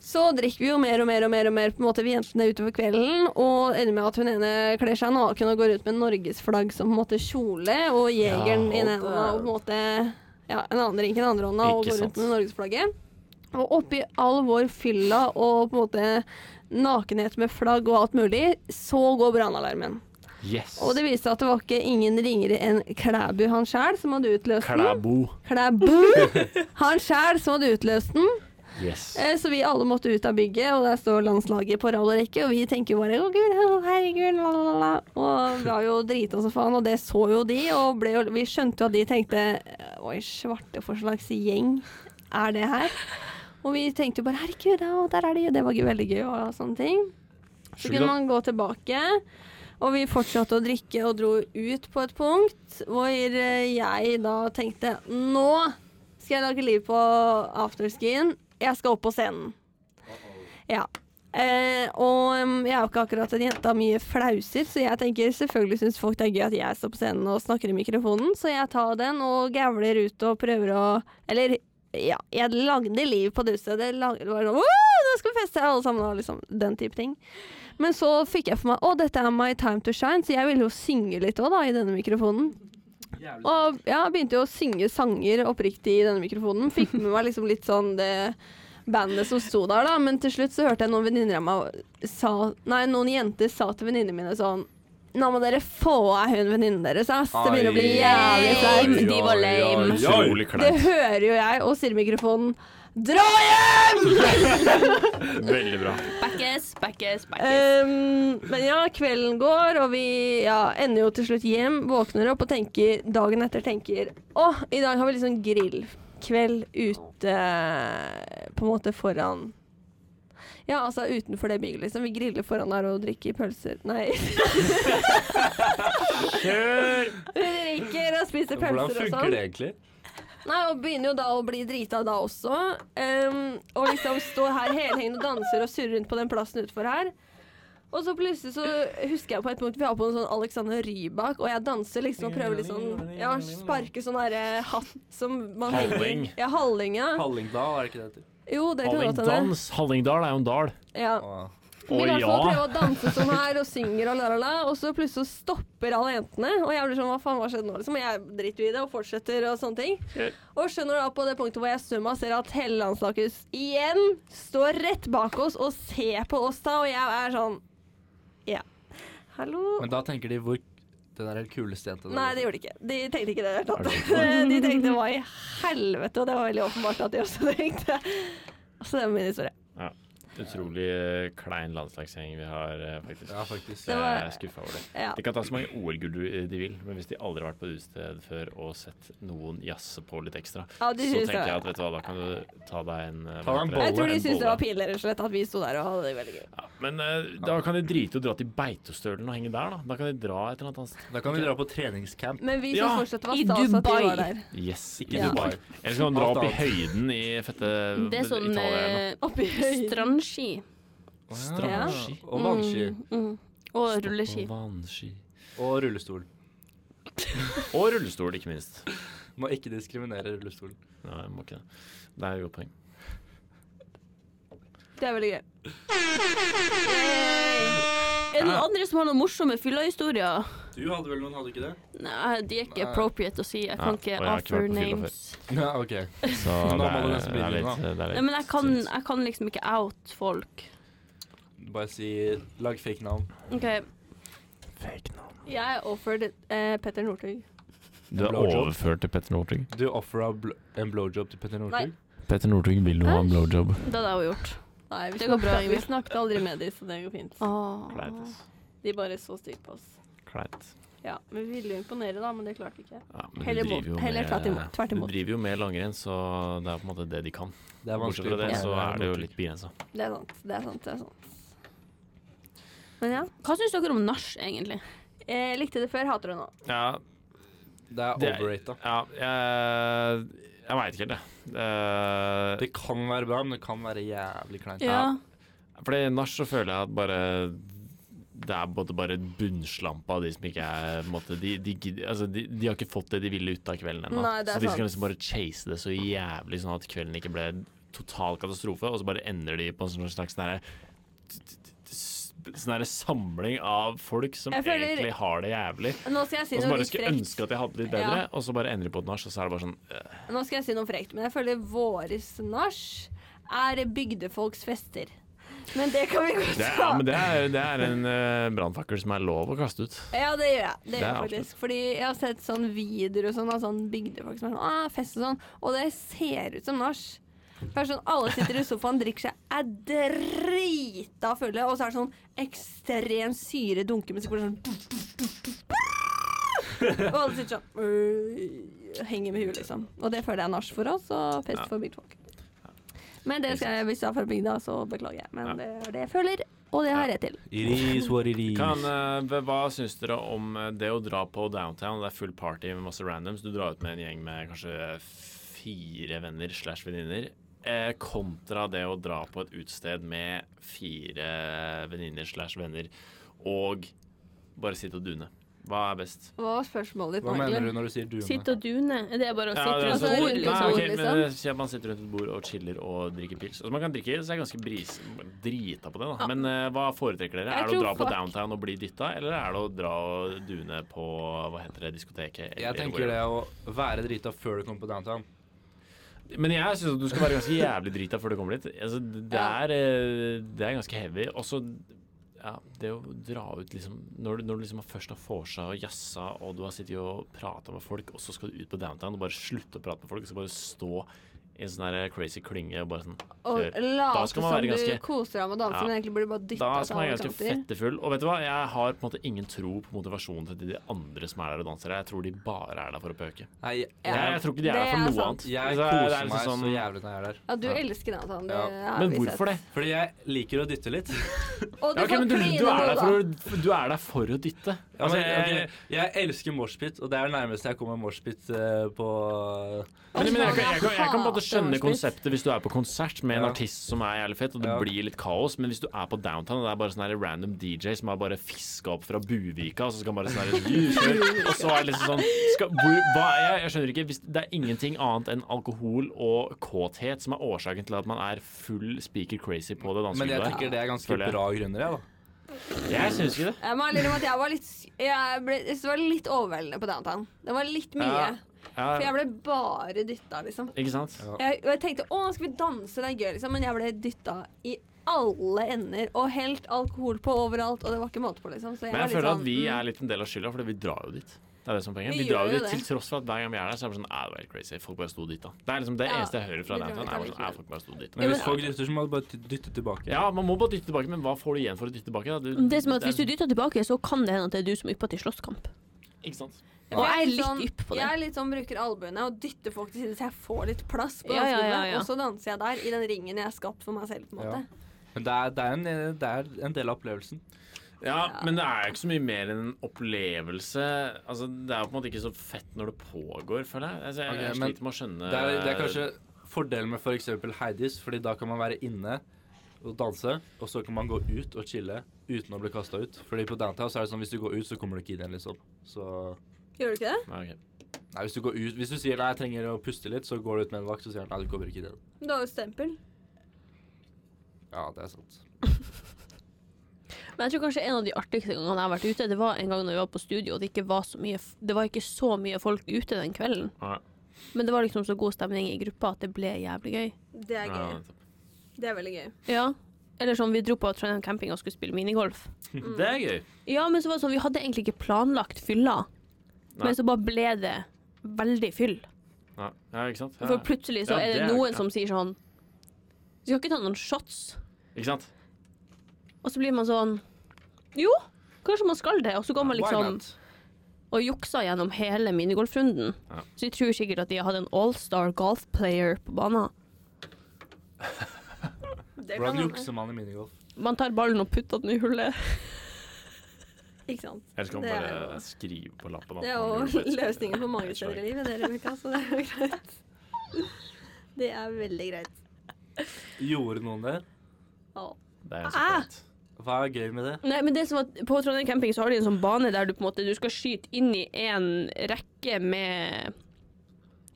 [SPEAKER 4] så drikker vi jo mer og mer og mer, og mer på en måte vi jentene utover kvelden. Og ender med at hun ene kler seg naken og går ut med Norgesflagg som på en måte kjole, og jegeren i den ene hånda og på en måte ja, en annen drink i den andre hånda og
[SPEAKER 3] Ikke
[SPEAKER 4] går
[SPEAKER 3] sant.
[SPEAKER 4] ut med Norgesflagget. Og oppi all vår fylla og på en måte nakenhet med flagg og alt mulig, så går brannalarmen.
[SPEAKER 3] Yes.
[SPEAKER 4] Og det viste seg at det var ikke ingen ringere enn Klæbu han sjæl som hadde utløst den.
[SPEAKER 3] Klæbo.
[SPEAKER 4] Klæbu! Han sjæl som hadde utløst den.
[SPEAKER 3] Yes.
[SPEAKER 4] Eh, Så vi alle måtte ut av bygget, og der står landslaget på rad og rekke, og vi tenker jo bare 'Å, gud, å, herregud', la, la, la. Og vi var jo drita som faen, og det så jo de, og ble jo, vi skjønte jo at de tenkte 'Oi, svarte for slags gjeng er det her?' Og vi tenkte jo bare 'Herregud, ja, der er de', og det var jo veldig gøy, og sånne ting. Så kunne man gå tilbake, og vi fortsatte å drikke og dro ut på et punkt hvor eh, jeg da tenkte Nå skal jeg lage liv på afterskien. Jeg skal opp på scenen. Ja. Eh, og em, jeg er jo ikke akkurat en jente av mye flauser, så jeg tenker selvfølgelig syns folk det er gøy at jeg står på scenen og snakker i mikrofonen, så jeg tar den og gævler ut og prøver å Eller ja, jeg lagde liv på duset. Det lag- det var sånn «Woo, Nå skal vi feste, alle sammen, og liksom den type ting. Men så fikk jeg for meg å, dette er my time to shine, så jeg ville jo synge litt òg, da, i denne mikrofonen. Og ja, begynte jo å synge sanger oppriktig i denne mikrofonen. Fikk med meg liksom litt sånn det bandet som sto der, da. Men til slutt så hørte jeg noen venninner av meg sa Nei, noen jenter sa til venninnene mine sånn Nå må dere få av hun venninnen deres, ass. Det begynner å bli jævlig flaut.
[SPEAKER 1] De var lame.
[SPEAKER 3] Utrolig
[SPEAKER 4] Det
[SPEAKER 3] kleint.
[SPEAKER 4] hører jo jeg, og sier i mikrofonen Dra hjem!
[SPEAKER 3] Veldig bra.
[SPEAKER 1] Backes, backes, backes.
[SPEAKER 4] Ehm, men ja, kvelden går, og vi ja, ender jo til slutt hjem, våkner opp og tenker dagen etter tenker Å, i dag har vi liksom grillkveld ute på en måte foran Ja, altså utenfor det bygget, liksom. Vi griller foran der og drikker pølser Nei.
[SPEAKER 3] Kjør!
[SPEAKER 4] Vi drikker og spiser pølser og
[SPEAKER 2] Hvordan
[SPEAKER 4] sånn.
[SPEAKER 2] funker det egentlig?
[SPEAKER 4] Nei, og begynner jo da å bli drita da også. Ehm, og liksom står her helhengende og danser og surrer rundt på den plassen utenfor her. Og så plutselig så husker jeg på et punkt vi har på en sånn Alexander Rybak, og jeg danser liksom og prøver litt sånn Ja, sparker sånn derre hatt som man henger
[SPEAKER 3] Halling.
[SPEAKER 4] Ja, halling, ja.
[SPEAKER 2] Hallingdal, er det ikke det heter?
[SPEAKER 4] Jo, det kan godt hende.
[SPEAKER 3] Hallingdans. Hallingdal er jo en dal.
[SPEAKER 4] Ja.
[SPEAKER 2] Å.
[SPEAKER 3] Å
[SPEAKER 4] Men i hvert fall
[SPEAKER 3] ja.
[SPEAKER 4] prøver å danse sånn her og synger og la-la-la, og så plutselig så stopper alle jentene. Og jeg blir sånn hva faen, hva skjedde nå? liksom? Og Jeg driter jo i det og fortsetter og sånne ting. Og skjønner da på det punktet hvor jeg snur meg og ser at hele landslaget igjen står rett bak oss og ser på oss da, og jeg er sånn Ja. Hallo?
[SPEAKER 2] Men da tenker de hvor Den er den kuleste jenta
[SPEAKER 4] Nei, det gjorde de ikke. De tenkte ikke det i det hele tatt. De tenkte hva i helvete, og det var veldig åpenbart at de også tenkte. Så det var min historie.
[SPEAKER 3] Utrolig eh, klein landslagsgjeng vi har, eh, faktisk.
[SPEAKER 2] Ja, faktisk.
[SPEAKER 4] Det
[SPEAKER 3] Jeg
[SPEAKER 4] var-
[SPEAKER 3] er skuffa over det.
[SPEAKER 4] Ja.
[SPEAKER 3] De kan ta så mange OL-gull du- eh, de vil, men hvis de aldri har vært på et utested før og sett noen jazze på litt ekstra,
[SPEAKER 4] Ja,
[SPEAKER 3] så
[SPEAKER 4] de synes det
[SPEAKER 3] tenker
[SPEAKER 4] var-
[SPEAKER 3] jeg at vet du hva, da kan du ta deg en eh, hva
[SPEAKER 2] Ta en
[SPEAKER 3] heter det?
[SPEAKER 2] bolle.
[SPEAKER 4] Jeg tror de
[SPEAKER 3] En
[SPEAKER 4] syntes det
[SPEAKER 3] bolle.
[SPEAKER 4] var pinlig rett og slett at vi sto der og hadde det veldig gøy.
[SPEAKER 3] Ja, men eh, da kan de drite i å dra til Beitostølen og henge der, da. Da kan de dra et eller annet annet sted.
[SPEAKER 2] Da kan vi dra på treningscamp.
[SPEAKER 4] Men vi
[SPEAKER 3] Ja.
[SPEAKER 4] syns fortsatt det var
[SPEAKER 1] I
[SPEAKER 4] stas at vi
[SPEAKER 1] Dubai.
[SPEAKER 4] var der.
[SPEAKER 3] Yes, ikke
[SPEAKER 4] Ja.
[SPEAKER 3] Dubai. Eller så kan de dra
[SPEAKER 2] Alt
[SPEAKER 3] opp i
[SPEAKER 2] annet.
[SPEAKER 3] høyden i fette
[SPEAKER 1] Det er sånn
[SPEAKER 3] Italia. eller noe.
[SPEAKER 1] eh,
[SPEAKER 4] Oppi høyden.
[SPEAKER 1] strandski.
[SPEAKER 4] eh,
[SPEAKER 3] Strandski.
[SPEAKER 2] Og vannski.
[SPEAKER 1] Mm. Og rulleski.
[SPEAKER 3] Og vannski.
[SPEAKER 2] Og rullestol.
[SPEAKER 3] Og rullestol, ikke minst.
[SPEAKER 2] Må ikke diskriminere rullestolen.
[SPEAKER 3] Nei, jeg må ikke det. Det er et godt poeng.
[SPEAKER 4] Det er veldig gøy.
[SPEAKER 1] Er det noen andre som har noen morsomme fyllehistorier?
[SPEAKER 2] Du hadde vel noen, hadde ikke det?
[SPEAKER 1] Nei, de er ikke
[SPEAKER 2] Nei.
[SPEAKER 1] appropriate å si.
[SPEAKER 3] Ja,
[SPEAKER 1] Jeg kan ikke
[SPEAKER 3] og jeg har ikke
[SPEAKER 1] offer
[SPEAKER 3] vært på fylla
[SPEAKER 1] names.
[SPEAKER 2] Ja, ok.
[SPEAKER 3] Så
[SPEAKER 2] Nå
[SPEAKER 3] det
[SPEAKER 2] må
[SPEAKER 3] er,
[SPEAKER 2] det
[SPEAKER 3] det
[SPEAKER 2] nesten bli
[SPEAKER 3] er litt,
[SPEAKER 2] litt,
[SPEAKER 3] det er litt
[SPEAKER 1] Nei, men jeg kan,
[SPEAKER 3] sunt.
[SPEAKER 1] jeg kan liksom ikke out folk.
[SPEAKER 2] Bare si Lag fake navn.
[SPEAKER 1] OK.
[SPEAKER 2] Fake navn.
[SPEAKER 4] Jeg er offered eh, Petter Northug.
[SPEAKER 3] Du er
[SPEAKER 2] Blowjob.
[SPEAKER 3] overført til Petter Northug.
[SPEAKER 2] Du offra bl en blowjob til Petter Northug?
[SPEAKER 3] Petter Northug vil jo ha en blowjob.
[SPEAKER 1] Det hadde jeg jo gjort.
[SPEAKER 4] Nei, vi
[SPEAKER 1] Det går bra,
[SPEAKER 4] snakket, vi
[SPEAKER 1] Ingvild.
[SPEAKER 4] snakket aldri med de, så det går fint.
[SPEAKER 3] Kleint.
[SPEAKER 1] Åh.
[SPEAKER 3] ass.
[SPEAKER 4] De bare så stygt på oss.
[SPEAKER 3] Kleint.
[SPEAKER 4] Ja, men Vi ville jo imponere, da, men det klarte vi ikke.
[SPEAKER 3] Ja, men
[SPEAKER 4] Heller
[SPEAKER 3] du driver jo
[SPEAKER 4] mot- heller
[SPEAKER 3] med-
[SPEAKER 4] tvert imot, tvert imot.
[SPEAKER 3] Du driver jo med langrenn, så det er på en måte det de kan.
[SPEAKER 2] Det er
[SPEAKER 3] Bortsett fra
[SPEAKER 2] vanskelig.
[SPEAKER 3] det,
[SPEAKER 2] å
[SPEAKER 3] så
[SPEAKER 2] komme
[SPEAKER 3] er det jo
[SPEAKER 2] Northug.
[SPEAKER 3] litt begrensa.
[SPEAKER 4] Det er sant, det er sant. det er sant. Men ja.
[SPEAKER 1] Hva syns dere om nach, egentlig?
[SPEAKER 4] Jeg likte det før, hater det nå.
[SPEAKER 3] Ja,
[SPEAKER 2] Det er
[SPEAKER 3] Det er-
[SPEAKER 2] overrata.
[SPEAKER 3] ja jeg, jeg veit ikke helt, jeg. Eh,
[SPEAKER 2] Det kan være bra, men det kan være jævlig kleint.
[SPEAKER 1] Ja.
[SPEAKER 3] Fordi nach så føler jeg at bare det er både bare bunnslampa av de som ikke er på en måte, de, de, gidder- altså, de, de har ikke fått det de ville ut av kvelden ennå.
[SPEAKER 4] Nei, det
[SPEAKER 3] Så
[SPEAKER 4] er
[SPEAKER 3] de
[SPEAKER 4] sant.
[SPEAKER 3] skal liksom bare chase det så jævlig sånn at kvelden ikke ble total katastrofe, og så bare ender de på en sånn slags nære Sånn her samling av folk som
[SPEAKER 4] Jeg føler-
[SPEAKER 3] egentlig har det jævlig.
[SPEAKER 4] Nå skal jeg si
[SPEAKER 3] Og som
[SPEAKER 4] noe
[SPEAKER 3] bare
[SPEAKER 4] litt
[SPEAKER 3] skulle
[SPEAKER 4] frekt.
[SPEAKER 3] ønske at de hadde det litt bedre, og så bare ender de på et nach, og så er det bare sånn øh,
[SPEAKER 4] Nå skal jeg si noe frekt, men jeg føler våres nach er bygdefolks fester. Men det kan vi godt
[SPEAKER 3] det, er-
[SPEAKER 4] ta.
[SPEAKER 3] ja, men det, er, det er en uh, brannfakkel som er lov å kaste ut.
[SPEAKER 4] Ja, det gjør jeg. Det
[SPEAKER 3] Det er
[SPEAKER 4] gjør jeg faktisk. Fordi jeg har sett sånn videoer og sånn av sånn bygdefolk som er sånn ah, fest og sånn, og det ser ut som nach. Det er Sånn, alle sitter i sofaen, drikker seg er drita fulle, og så er det sånn ekstrem syre dunkemusikk. hvor det er Sånn, duff, duff, duff, duff, brrr. og alle sitter sånn øh, Henger med huet, liksom. Og det føler jeg er nach for oss, og fest
[SPEAKER 3] Ja.
[SPEAKER 4] for bygdefolk. Men det skal jeg, hvis du er fra bygda, så beklager jeg. Men
[SPEAKER 3] Ja.
[SPEAKER 4] det er det jeg føler, og det har jeg rett til.
[SPEAKER 2] It is what it is.
[SPEAKER 3] Kan, eh, hva- hva syns dere om eh, det å dra på downtown? Det er full party med masse randoms. Du drar ut med en gjeng med kanskje fire venner slash venninner. Eh, kontra det å dra på et utested med fire venninner slash venner og bare sitte og dune. Hva er best?
[SPEAKER 4] Hva var spørsmålet ditt,
[SPEAKER 2] Hva mener du når du sier
[SPEAKER 1] Sitte
[SPEAKER 2] duene?
[SPEAKER 1] og dune? Er det bare å
[SPEAKER 3] det
[SPEAKER 1] sitte
[SPEAKER 3] er
[SPEAKER 1] rundt
[SPEAKER 3] så-
[SPEAKER 1] et bord,
[SPEAKER 4] Nei,
[SPEAKER 1] liksom?
[SPEAKER 3] ok,
[SPEAKER 4] liksom.
[SPEAKER 3] men det sier at Man sitter rundt et bord og chiller og drikker pils. Altså, man kan drikke, så jeg er ganske bris, drita på det. da. Men eh, hva foretrekker dere?
[SPEAKER 4] Jeg
[SPEAKER 3] Er det å
[SPEAKER 4] tror
[SPEAKER 3] dra på
[SPEAKER 4] fuck-
[SPEAKER 3] downtown og bli dytta, eller er det å dra og dune på hva heter det, diskoteket? eller
[SPEAKER 2] Jeg tenker det å være drita før du kommer på downtown.
[SPEAKER 3] whatever? Men jeg syns du skal være ganske jævlig drita før du kommer dit. Altså, det,
[SPEAKER 4] Ja.
[SPEAKER 3] er, eh, det er ganske heavy. Og så ja, det å dra ut liksom Når du, når du liksom først har vorsa og jazza, og du har sittet og prata med folk, og så skal du ut på downtown og bare slutte å prate med folk, og så bare stå i en sånn der crazy klynge og bare sånn
[SPEAKER 4] Og
[SPEAKER 3] kjør. Da skal
[SPEAKER 4] late som
[SPEAKER 3] man være
[SPEAKER 4] du
[SPEAKER 3] ganske-
[SPEAKER 4] koser deg med dansen,
[SPEAKER 3] Ja.
[SPEAKER 4] men egentlig burde du bare dytta
[SPEAKER 3] Da skal man være ganske fettefull. Og vet du hva, jeg har på en måte ingen tro på motivasjonen til de andre som er der og danser. Jeg tror de bare er der for å pøke.
[SPEAKER 2] Nei, jeg,
[SPEAKER 4] Ja.
[SPEAKER 3] jeg, jeg tror ikke de er
[SPEAKER 4] Det
[SPEAKER 3] der for
[SPEAKER 4] er
[SPEAKER 3] noe
[SPEAKER 4] sant.
[SPEAKER 3] annet.
[SPEAKER 2] jeg
[SPEAKER 3] Altså, det er
[SPEAKER 2] koser
[SPEAKER 3] liksom
[SPEAKER 2] meg så
[SPEAKER 3] sånn-
[SPEAKER 2] jævlig når jeg er der.
[SPEAKER 4] Ja, du
[SPEAKER 3] Ja.
[SPEAKER 4] elsker Nathan. Det
[SPEAKER 2] Ja.
[SPEAKER 4] har
[SPEAKER 3] Men
[SPEAKER 4] vi
[SPEAKER 3] hvorfor det?
[SPEAKER 4] sett.
[SPEAKER 2] Fordi jeg liker å dytte litt.
[SPEAKER 4] Og du
[SPEAKER 3] Ja, ok,
[SPEAKER 4] får
[SPEAKER 3] men du,
[SPEAKER 4] kline
[SPEAKER 3] du, er
[SPEAKER 4] nå,
[SPEAKER 3] der
[SPEAKER 4] Liksom, da.
[SPEAKER 3] for å, du er der for å dytte.
[SPEAKER 2] Ja,
[SPEAKER 3] Altså,
[SPEAKER 2] men, eh,
[SPEAKER 3] jeg,
[SPEAKER 2] ok, jeg elsker moshpit, og det er det nærmeste jeg kommer moshpit eh, på
[SPEAKER 3] men, men jeg, kan- jeg, kan- jeg kan på en måte
[SPEAKER 4] Hater
[SPEAKER 3] skjønne
[SPEAKER 4] moshpit.
[SPEAKER 3] konseptet hvis du er på konsert med en
[SPEAKER 2] Ja.
[SPEAKER 3] artist som er jævlig fett, og det
[SPEAKER 2] Ja.
[SPEAKER 3] blir litt kaos, men hvis du er på downtown, og det er bare sånn her random DJ som har bare fiska opp fra Buvika, og så skal han bare sånn her «Du, kjør», Og så er det liksom sånn skal, hvor, hva, jeg, jeg skjønner ikke. Hvis det er ingenting annet enn alkohol og kåthet som er årsaken til at man er full speaker crazy på det
[SPEAKER 2] Men jeg
[SPEAKER 3] dansegulvet.
[SPEAKER 2] tenker det er ganske
[SPEAKER 3] Føler jeg.
[SPEAKER 2] bra grunner, jeg, da.
[SPEAKER 3] Jeg syns ikke det.
[SPEAKER 4] Jeg må ærlig innrømme at jeg var litt sy- Jeg ble, jeg synes det var litt overveldende på downtown. Det var litt mye.
[SPEAKER 3] Ja.
[SPEAKER 4] For
[SPEAKER 3] Ja,
[SPEAKER 4] jeg ble bare dytta, liksom.
[SPEAKER 3] ikke sant?
[SPEAKER 4] Jeg, og jeg tenkte å, skal vi danse, det er gøy, liksom. Men jeg ble dytta i alle ender. Og helt alkohol på overalt, og det var ikke måte på, liksom. Så jeg
[SPEAKER 3] Men jeg
[SPEAKER 4] var litt
[SPEAKER 3] føler at
[SPEAKER 4] sånn,
[SPEAKER 3] vi
[SPEAKER 4] mm.
[SPEAKER 3] er litt en del av skylda, fordi vi drar jo dit. Det er det som er poenget.
[SPEAKER 4] Vi
[SPEAKER 3] Vi drar jo
[SPEAKER 4] gjør jo
[SPEAKER 3] dit til
[SPEAKER 4] det.
[SPEAKER 3] tross for at hver gang vi er der, så er det bare sånn "Ah, det var helt crazy. Folk bare sto dit, da. Det er liksom det
[SPEAKER 4] Ja,
[SPEAKER 3] eneste jeg hører fra
[SPEAKER 4] vi drar
[SPEAKER 3] Downtown. er
[SPEAKER 4] dit
[SPEAKER 3] bare sånn,
[SPEAKER 4] allikevel.
[SPEAKER 3] "Ah, folk bare sto dit.
[SPEAKER 2] Men hvis folk dytter, så må du bare dytte tilbake.
[SPEAKER 3] Ja, man må bare dytte tilbake, men hva får du igjen for å dytte tilbake? Da? Du,
[SPEAKER 1] Det er som at
[SPEAKER 3] det
[SPEAKER 1] Hvis du dytter tilbake, så kan det hende at det er du som ypper til slåsskamp.
[SPEAKER 3] Ikke sant?
[SPEAKER 4] Ja,
[SPEAKER 1] Og
[SPEAKER 4] for
[SPEAKER 1] jeg er
[SPEAKER 4] sånn-
[SPEAKER 1] litt ypp på det.
[SPEAKER 4] Jeg er litt sånn, bruker albuene og dytter folk til side så jeg får litt plass på
[SPEAKER 1] Ja, ja,
[SPEAKER 4] dansegulvet.
[SPEAKER 1] ja, ja.
[SPEAKER 4] Og så danser jeg der, i den ringen jeg har skapt for meg selv. på en måte.
[SPEAKER 2] Men det er, det, er en, eh, det er en del av opplevelsen.
[SPEAKER 3] Ja, men det er jo ikke så mye mer enn en opplevelse. Altså, det er jo på en måte ikke så fett når det pågår, føler jeg. Altså, jeg,
[SPEAKER 2] Ok,
[SPEAKER 3] jeg
[SPEAKER 2] men
[SPEAKER 3] sliter med å skjønne
[SPEAKER 2] Det er, det er kanskje fordelen med f.eks. Heidis, fordi da kan man være inne og danse, og så kan man gå ut og chille uten å bli kasta ut. Fordi på downtown så er det sånn hvis du går ut, så kommer du ikke inn igjen, liksom. Så
[SPEAKER 4] Gjør du ikke det?
[SPEAKER 3] Nei, ok.
[SPEAKER 2] Nei, hvis du går ut Hvis du sier nei, jeg trenger å puste litt, så går du ut med en vakt, så sier han nei, du kommer ikke inn igjen.
[SPEAKER 4] Du har jo stempel.
[SPEAKER 2] Ja, det er sant.
[SPEAKER 1] Men jeg tror kanskje en av de artigste gangene jeg har vært ute, det var en gang når vi var på studio, og det ikke var så mye, f- det var ikke så mye folk ute den kvelden.
[SPEAKER 3] Nei.
[SPEAKER 1] Men det var liksom så god stemning i gruppa at det ble jævlig gøy.
[SPEAKER 4] Det er
[SPEAKER 3] Ja,
[SPEAKER 4] gøy. Det er veldig gøy.
[SPEAKER 1] Ja, Eller sånn, vi dro på Trondheim camping og skulle spille minigolf.
[SPEAKER 3] Det er gøy.
[SPEAKER 1] Ja, men så var det sånn, vi hadde egentlig ikke planlagt fylla,
[SPEAKER 3] Nei.
[SPEAKER 1] men så bare ble det veldig fyll.
[SPEAKER 3] Ja, ja ikke sant?
[SPEAKER 1] For
[SPEAKER 3] Ja.
[SPEAKER 1] plutselig så
[SPEAKER 3] Ja,
[SPEAKER 1] er det
[SPEAKER 3] det er-
[SPEAKER 1] noen
[SPEAKER 3] ja.
[SPEAKER 1] som sier sånn Du skal ikke ta noen shots.
[SPEAKER 3] Ikke sant?
[SPEAKER 1] Og så blir man sånn Jo, kanskje man skal det. Og så går man liksom og juksa gjennom hele minigolfrunden.
[SPEAKER 3] Ja.
[SPEAKER 1] Så de tror sikkert at de hadde en allstar golfplayer på banen.
[SPEAKER 7] Det kan
[SPEAKER 2] Hvordan
[SPEAKER 7] hende.
[SPEAKER 2] jukser man i minigolf?
[SPEAKER 1] Man tar ballen og putter den i hullet.
[SPEAKER 7] Ikke sant?
[SPEAKER 3] Eller skal man
[SPEAKER 7] Det er
[SPEAKER 3] bare
[SPEAKER 7] jo-
[SPEAKER 3] skrive på lappen. at
[SPEAKER 7] Det er
[SPEAKER 3] man
[SPEAKER 7] jo
[SPEAKER 3] gjorde det.
[SPEAKER 7] løsningen på mange steder i livet, det, Rebekka, så det er jo greit. Det er veldig greit.
[SPEAKER 2] Gjorde noen det?
[SPEAKER 7] Ja.
[SPEAKER 3] Det er jo så fint.
[SPEAKER 2] Hva er gøy med det?
[SPEAKER 1] Nei, men det som at På Trondheim camping så har de en sånn bane der du på en måte Du skal skyte inn i en rekke med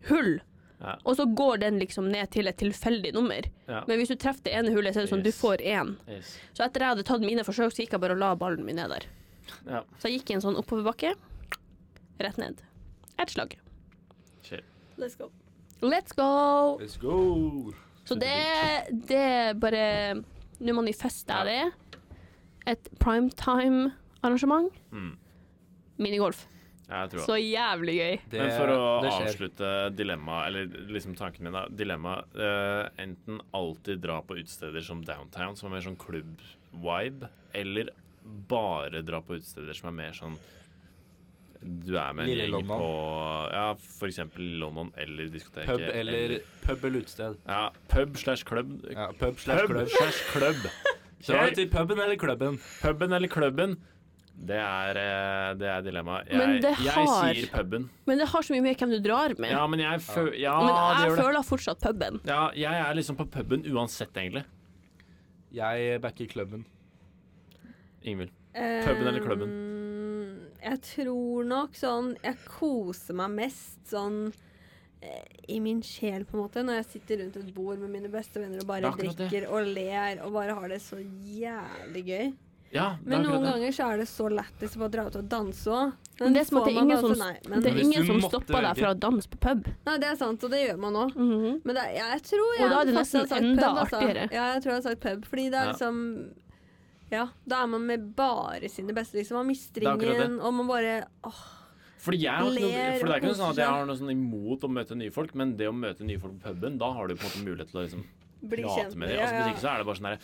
[SPEAKER 1] hull.
[SPEAKER 3] Ja.
[SPEAKER 1] Og så går den liksom ned til et tilfeldig nummer.
[SPEAKER 3] Ja.
[SPEAKER 1] Men hvis du treffer det ene hullet, så er det sånn du
[SPEAKER 3] Yes.
[SPEAKER 1] får én.
[SPEAKER 3] Yes.
[SPEAKER 1] Så etter jeg hadde tatt mine forsøk, så gikk jeg bare og la ballen min ned der.
[SPEAKER 3] Ja.
[SPEAKER 1] Så jeg gikk i en sånn oppoverbakke. Rett ned. Ett slag.
[SPEAKER 3] Shit.
[SPEAKER 7] Let's go.
[SPEAKER 1] Let's go!
[SPEAKER 2] Let's go!
[SPEAKER 1] Så det, det er bare Nå manifester jeg det. Et primetime-arrangement.
[SPEAKER 3] Mm.
[SPEAKER 1] Minigolf.
[SPEAKER 3] Ja, jeg tror det.
[SPEAKER 1] Så jævlig gøy.
[SPEAKER 2] Det,
[SPEAKER 3] Men for å
[SPEAKER 2] det skjer.
[SPEAKER 3] avslutte dilemmaet, eller liksom tanken min, da. Dilemmaet eh, enten alltid dra på utesteder som downtown, som er mer sånn klubb-vibe, eller bare dra på utesteder som er mer sånn du er med en
[SPEAKER 2] Lille
[SPEAKER 3] gjeng
[SPEAKER 2] London.
[SPEAKER 3] på Ja, for eksempel London eller diskoteket.
[SPEAKER 2] Pub eller, pub eller utested.
[SPEAKER 3] Ja, pub slash klubb.
[SPEAKER 2] Ja, pub slash
[SPEAKER 3] Pub
[SPEAKER 2] klubb.
[SPEAKER 3] slash klubb.
[SPEAKER 2] Dra til puben eller klubben.
[SPEAKER 3] Puben eller klubben? Det er, eh, det er dilemmaet. Jeg,
[SPEAKER 1] Men det
[SPEAKER 3] jeg
[SPEAKER 1] har-
[SPEAKER 3] sier puben.
[SPEAKER 1] Men det har så mye med hvem du drar med.
[SPEAKER 3] Ja, men jeg føler Ja,
[SPEAKER 1] Men
[SPEAKER 3] det
[SPEAKER 1] jeg
[SPEAKER 3] gjør det.
[SPEAKER 1] føler fortsatt puben.
[SPEAKER 3] Ja, jeg er liksom på puben uansett, egentlig.
[SPEAKER 2] Jeg backer klubben.
[SPEAKER 3] Ingvild. Puben eller klubben?
[SPEAKER 7] Um, Jeg tror nok sånn Jeg koser meg mest sånn eh, i min sjel, på en måte, når jeg sitter rundt et bord med mine beste venner og bare
[SPEAKER 3] Det er akkurat det.
[SPEAKER 7] drikker og ler og bare har det så jævlig gøy.
[SPEAKER 3] Ja, det er
[SPEAKER 7] Men noen
[SPEAKER 3] akkurat det.
[SPEAKER 7] ganger så er det så lættis å bare dra ut og danse òg.
[SPEAKER 1] Men det er som at det er ingen som,
[SPEAKER 7] sånn, nei, men,
[SPEAKER 1] det
[SPEAKER 2] Men
[SPEAKER 1] er
[SPEAKER 2] hvis
[SPEAKER 1] ingen
[SPEAKER 2] du
[SPEAKER 1] som
[SPEAKER 2] måtte
[SPEAKER 1] stopper deg
[SPEAKER 2] velge-
[SPEAKER 1] fra å danse på pub.
[SPEAKER 7] nei, det er sant, og det gjør man òg.
[SPEAKER 1] Mhm.
[SPEAKER 7] Men det, er- jeg tror jeg
[SPEAKER 1] Mm. Og da er det
[SPEAKER 7] hadde faktisk
[SPEAKER 1] nesten
[SPEAKER 7] sagt
[SPEAKER 1] enda
[SPEAKER 7] altså.
[SPEAKER 1] artigere.
[SPEAKER 7] Ja, jeg tror jeg hadde sagt pub, fordi det er
[SPEAKER 3] Ja.
[SPEAKER 7] liksom Ja, da er man med bare sine beste, liksom. Man mister
[SPEAKER 3] Det er akkurat det.
[SPEAKER 7] ingen, og man bare åh,
[SPEAKER 3] Fordi jeg har ikke noe,
[SPEAKER 7] Ler
[SPEAKER 3] for det er ikke
[SPEAKER 7] og
[SPEAKER 3] noe
[SPEAKER 7] koser
[SPEAKER 3] sånn at jeg
[SPEAKER 7] seg.
[SPEAKER 3] har noe sånn imot å møte nye folk, men det å møte nye folk på puben, da har du på en måte mulighet til å liksom
[SPEAKER 7] blir kjent.
[SPEAKER 3] prate med dem.
[SPEAKER 7] Ja,
[SPEAKER 3] Altså, hvis
[SPEAKER 7] ja.
[SPEAKER 3] ikke så er det bare sånn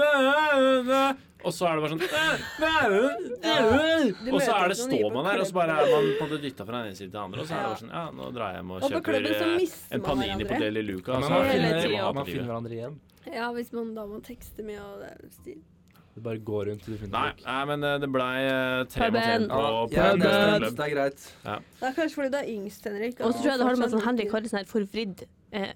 [SPEAKER 3] derre Og så er det bare sånn
[SPEAKER 7] Du
[SPEAKER 3] Og så
[SPEAKER 7] møter
[SPEAKER 3] er det
[SPEAKER 7] ikke noen nye
[SPEAKER 4] sånn
[SPEAKER 3] står
[SPEAKER 7] på
[SPEAKER 3] man der, og så bare er man på en måte dytta fra den ene siden til den andre, og så er
[SPEAKER 7] Ja.
[SPEAKER 3] det bare sånn Ja, nå drar jeg hjem og
[SPEAKER 7] Og på
[SPEAKER 3] kjøper
[SPEAKER 7] klubben så
[SPEAKER 3] eh,
[SPEAKER 7] mister
[SPEAKER 3] en
[SPEAKER 7] man
[SPEAKER 3] panini på
[SPEAKER 7] hverandre.
[SPEAKER 3] Deli Luca, og så
[SPEAKER 2] Men man,
[SPEAKER 3] er det
[SPEAKER 1] hele
[SPEAKER 3] det man har
[SPEAKER 1] tida.
[SPEAKER 2] finner,
[SPEAKER 3] på
[SPEAKER 2] man finner
[SPEAKER 3] livet.
[SPEAKER 2] hverandre igjen.
[SPEAKER 7] ja, hvis man da må tekste mye og det er stil.
[SPEAKER 2] Det bare går rundt til du finner
[SPEAKER 3] Nei,
[SPEAKER 2] folk.
[SPEAKER 3] nei, men eh, det blei eh, tre mot
[SPEAKER 1] Puben.
[SPEAKER 3] en på
[SPEAKER 2] Ja,
[SPEAKER 3] puben.
[SPEAKER 2] det, er,
[SPEAKER 3] Klubb.
[SPEAKER 2] det er greit.
[SPEAKER 7] Det er kanskje fordi du er yngst, Henrik.
[SPEAKER 1] Og så tror jeg det har det med sånn Henrik
[SPEAKER 7] har
[SPEAKER 1] har en sånn her forvridd eh,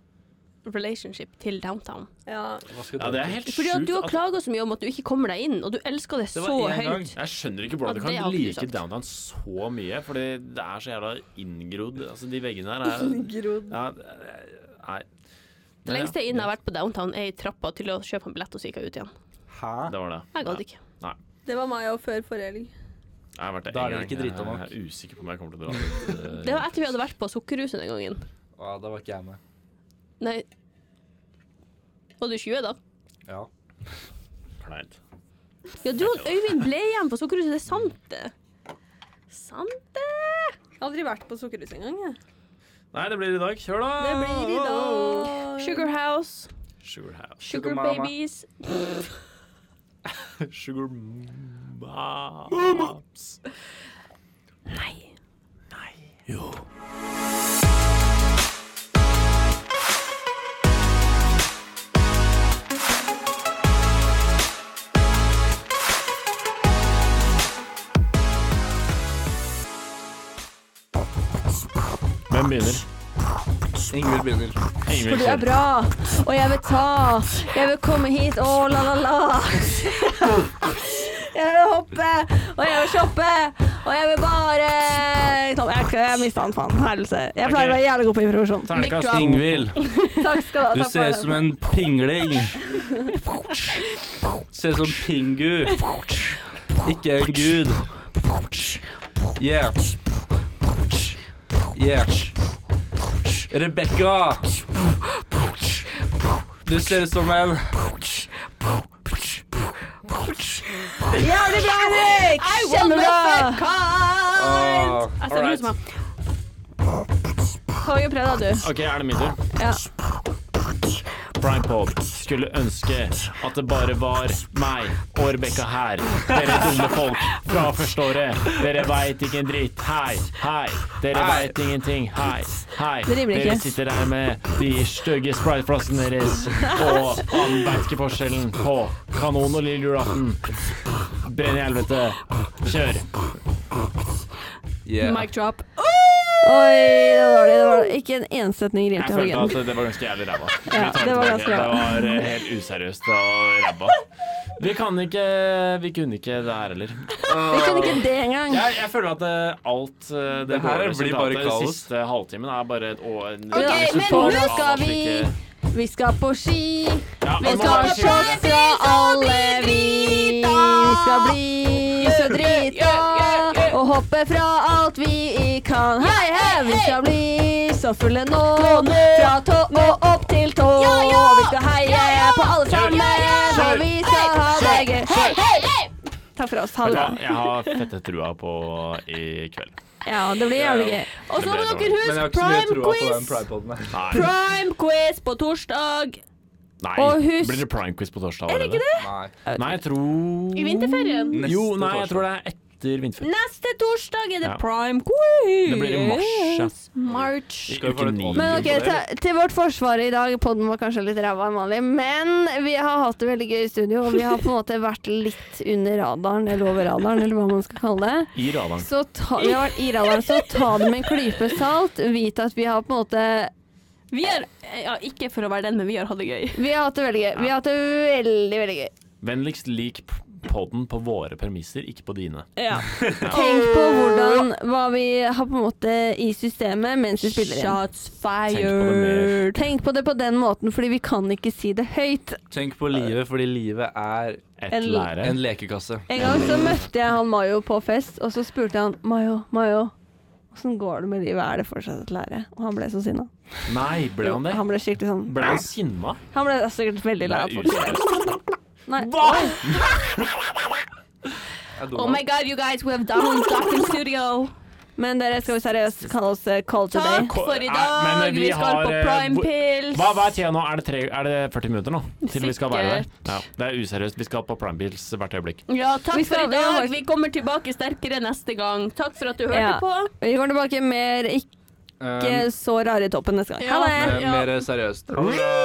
[SPEAKER 1] relationship til downtown.
[SPEAKER 7] ja.
[SPEAKER 2] Hva skal
[SPEAKER 3] Ja, det er helt
[SPEAKER 1] Fordi at
[SPEAKER 3] sjukt.
[SPEAKER 1] du har
[SPEAKER 3] at-
[SPEAKER 1] klaga så mye om at du ikke kommer deg inn, og du elsker det,
[SPEAKER 2] Det var
[SPEAKER 1] så
[SPEAKER 2] én gang.
[SPEAKER 1] høyt.
[SPEAKER 3] Jeg skjønner ikke hvordan
[SPEAKER 1] Ja,
[SPEAKER 3] du
[SPEAKER 1] det
[SPEAKER 3] kan
[SPEAKER 1] hadde du
[SPEAKER 3] like
[SPEAKER 1] sagt.
[SPEAKER 3] downtown så mye, fordi det er så jævla inngrodd. Altså, de veggene der er
[SPEAKER 7] Grodd.
[SPEAKER 3] ja, det- Nei.
[SPEAKER 1] Det lengste jeg inn har vært på downtown, er i trappa til å kjøpe en billett, og så gikk jeg ut igjen.
[SPEAKER 2] Hæ?
[SPEAKER 3] Det var det.
[SPEAKER 1] Jeg gadd ikke.
[SPEAKER 7] Det var meg òg før forrige helg.
[SPEAKER 3] Jeg har vært det
[SPEAKER 2] Da er
[SPEAKER 3] en
[SPEAKER 2] det ikke
[SPEAKER 3] gang.
[SPEAKER 2] drita nok.
[SPEAKER 3] Jeg er usikker på om jeg kommer til å dra dit. eh,
[SPEAKER 1] Det var etter vi hadde vært på Sukkerhuset den gangen.
[SPEAKER 2] Ja, da var ikke jeg med.
[SPEAKER 1] Nei Var du 20 da?
[SPEAKER 2] Ja.
[SPEAKER 3] Kleint.
[SPEAKER 1] Ja, du og Øyvind ble igjen på Sukkerhuset, det er sant, det. Sant det?
[SPEAKER 7] Jeg har Aldri vært på Sukkerhuset engang. jeg.
[SPEAKER 3] Nei, det blir i dag. Kjør, da!
[SPEAKER 7] Det blir i dag.
[SPEAKER 1] Sugar House,
[SPEAKER 3] Sugar House.
[SPEAKER 1] Sugar
[SPEAKER 2] Sugar Mama.
[SPEAKER 1] Babies.
[SPEAKER 3] Sugar Moms.
[SPEAKER 1] Nei.
[SPEAKER 3] Hvem begynner?
[SPEAKER 2] Ingvild begynner.
[SPEAKER 3] Ingvild
[SPEAKER 4] Det er
[SPEAKER 3] kjører.
[SPEAKER 4] bra, og jeg vil ta. Jeg vil komme hit, å la la la. Jeg vil hoppe, og jeg vil shoppe, og jeg vil bare Tom, jeg, jeg mista han, faen. Helse. Jeg pleier å være jævlig god på improvisasjon.
[SPEAKER 3] Ternekast.
[SPEAKER 2] Ingvild,
[SPEAKER 4] Takk skal du
[SPEAKER 2] du
[SPEAKER 4] ha.
[SPEAKER 2] ser ut som en pingling. Ser ut som Pingu. Ikke en gud. Yeah. Yeah. Rebekka. Du ser ut som en
[SPEAKER 4] Jævlig bra, Henrik! Kjempebra!
[SPEAKER 2] Ah,
[SPEAKER 1] Jeg
[SPEAKER 3] All
[SPEAKER 1] ser
[SPEAKER 3] right.
[SPEAKER 1] ut som jeg
[SPEAKER 4] Kom igjen, prøv da, du.
[SPEAKER 3] OK, er det min tur?
[SPEAKER 4] Ja.
[SPEAKER 3] Primepod skulle ønske at det bare var meg og Rebekka her. Dere dumme folk fra første året. Dere veit ikke en dritt. Hei, hei. Dere veit ingenting. Hei, hei.
[SPEAKER 4] Det rimer ikke.
[SPEAKER 3] Dere sitter der med de stygge spriteflaskene deres, og han veit ikke forskjellen på kanon og lille julaften. Brenn i helvete. Kjør.
[SPEAKER 2] yeah.
[SPEAKER 1] mic drop.
[SPEAKER 4] Oi, det var det. det var det. Ikke en eneste setning rim
[SPEAKER 3] Jeg
[SPEAKER 4] til
[SPEAKER 3] følte
[SPEAKER 4] Haugen.
[SPEAKER 3] at det var ganske jævlig ræva.
[SPEAKER 4] Ja,
[SPEAKER 3] Vi tar
[SPEAKER 4] det var
[SPEAKER 3] tilbake.
[SPEAKER 4] ganske ræva.
[SPEAKER 3] Det var eh, helt useriøst og ræva. Vi kan ikke Vi kunne ikke det her heller.
[SPEAKER 4] Vi kunne ikke det engang.
[SPEAKER 3] Jeg, jeg føler at eh, alt eh, det,
[SPEAKER 2] Det her
[SPEAKER 3] dårlige
[SPEAKER 2] blir bare
[SPEAKER 3] resultatet
[SPEAKER 2] kaos.
[SPEAKER 3] siste halvtimen er bare et år en
[SPEAKER 4] Ok,
[SPEAKER 3] resultat
[SPEAKER 4] men nå
[SPEAKER 3] av
[SPEAKER 4] skal
[SPEAKER 3] at
[SPEAKER 4] vi-
[SPEAKER 3] ikke-
[SPEAKER 4] Vi skal på ski.
[SPEAKER 3] ja,
[SPEAKER 4] Vi
[SPEAKER 3] og nå
[SPEAKER 4] skal
[SPEAKER 3] er
[SPEAKER 4] på
[SPEAKER 3] det
[SPEAKER 4] sjokk
[SPEAKER 3] skikkelig-
[SPEAKER 4] fra alle vi. Vi skal bli så drita og hoppe fra alt vi ikke kan. Hei, hei, vi skal bli så fulle nå. Fra tå og opp til tå. Vi skal heie på alle sammen, og vi skal ha det gøy. Hei, hei, hei. Takk for oss. Ha det
[SPEAKER 3] Ja,
[SPEAKER 4] bra.
[SPEAKER 3] jeg har fette trua på i kveld.
[SPEAKER 4] Ja, det blir jævlig gøy.
[SPEAKER 3] Det
[SPEAKER 4] Og så må
[SPEAKER 3] blir
[SPEAKER 4] dere
[SPEAKER 3] dårlig.
[SPEAKER 2] Men jeg har
[SPEAKER 4] huske
[SPEAKER 2] ikke så mye
[SPEAKER 4] prime
[SPEAKER 2] trua på den
[SPEAKER 4] quiz.
[SPEAKER 2] pridepoden her.
[SPEAKER 3] Nei.
[SPEAKER 4] Prime quiz på torsdag.
[SPEAKER 3] Nei.
[SPEAKER 4] Og husk-
[SPEAKER 3] Blir det prime quiz på torsdag allerede?
[SPEAKER 2] Nei.
[SPEAKER 3] Nei, jeg tror
[SPEAKER 4] I vinterferien.
[SPEAKER 2] Neste
[SPEAKER 3] Jo, nei, jeg
[SPEAKER 2] torsdag.
[SPEAKER 3] tror det er etter vinterferien.
[SPEAKER 4] Neste torsdag er det
[SPEAKER 3] Ja.
[SPEAKER 4] prime quiz.
[SPEAKER 3] Det blir i mars, ja.
[SPEAKER 4] March.
[SPEAKER 3] I
[SPEAKER 2] Skal vi få
[SPEAKER 3] uke
[SPEAKER 2] litt
[SPEAKER 3] ni.
[SPEAKER 2] åpning?
[SPEAKER 4] Men ok, til, til vårt forsvar i dag, podden var kanskje litt ræva enn vanlig, men vi har hatt det veldig gøy i studio, og vi har på en måte vært litt under radaren, eller over radaren, eller hva man skal kalle det.
[SPEAKER 3] I radaren.
[SPEAKER 4] Så ta, vi har vært i radaren, så ta det med en klype salt. Vit at vi har på en måte
[SPEAKER 1] Vi er, ja, ikke for å være den, men vi har hatt det gøy.
[SPEAKER 4] Vi har hatt det veldig gøy. Vi har hatt det veldig, veldig gøy.
[SPEAKER 3] Vennligst lik poden på våre premisser, ikke på dine.
[SPEAKER 1] Ja.
[SPEAKER 4] Tenk på hvordan hva vi har på en måte i systemet mens vi spiller inn.
[SPEAKER 1] Shots
[SPEAKER 3] Tenk på det mer.
[SPEAKER 1] fired.
[SPEAKER 4] Tenk på det på den måten, fordi vi kan ikke si det høyt.
[SPEAKER 2] Tenk på livet, fordi livet er
[SPEAKER 3] Et
[SPEAKER 4] En-
[SPEAKER 3] lære.
[SPEAKER 2] en lekekasse.
[SPEAKER 4] En gang så møtte jeg han Mayo på fest, og så spurte jeg han Mayo, Mayo, åssen går det med livet, er det fortsatt et lære? Og han ble så sinna.
[SPEAKER 3] Nei, ble han det?
[SPEAKER 4] Han ble skikkelig sånn
[SPEAKER 3] Ble han sinna?
[SPEAKER 4] Han ble sikkert veldig lei av folk. Nei.
[SPEAKER 2] Jeg er dum,
[SPEAKER 1] Oh my god, you guys, we have done Docking Studio.
[SPEAKER 4] Men dere, skal vi seriøst kalle oss eh, call today?
[SPEAKER 1] Takk for i
[SPEAKER 3] Nei,
[SPEAKER 1] dag.
[SPEAKER 3] men vi
[SPEAKER 1] Vi skal
[SPEAKER 3] har,
[SPEAKER 1] på
[SPEAKER 3] eh,
[SPEAKER 1] prime
[SPEAKER 3] hvor-
[SPEAKER 1] pills.
[SPEAKER 3] Hva, hva er tida nå? Er det, tre, er det 40 minutter nå? Til vi skal være der?
[SPEAKER 1] Sikkert.
[SPEAKER 3] Ja, det er useriøst. Vi skal på Primebills hvert øyeblikk.
[SPEAKER 1] Ja, takk
[SPEAKER 4] Vi
[SPEAKER 1] for
[SPEAKER 4] skal-
[SPEAKER 1] i
[SPEAKER 4] vi har
[SPEAKER 1] dag.
[SPEAKER 4] faktisk-
[SPEAKER 1] Vi kommer tilbake sterkere neste gang. Takk for at du hørte
[SPEAKER 4] Ja.
[SPEAKER 1] på.
[SPEAKER 4] Vi går tilbake mer ikke
[SPEAKER 2] Eh,
[SPEAKER 3] Um,
[SPEAKER 4] så rare i toppen neste gang. Ha det!
[SPEAKER 1] Ja.
[SPEAKER 2] mer seriøst. Ha det bra.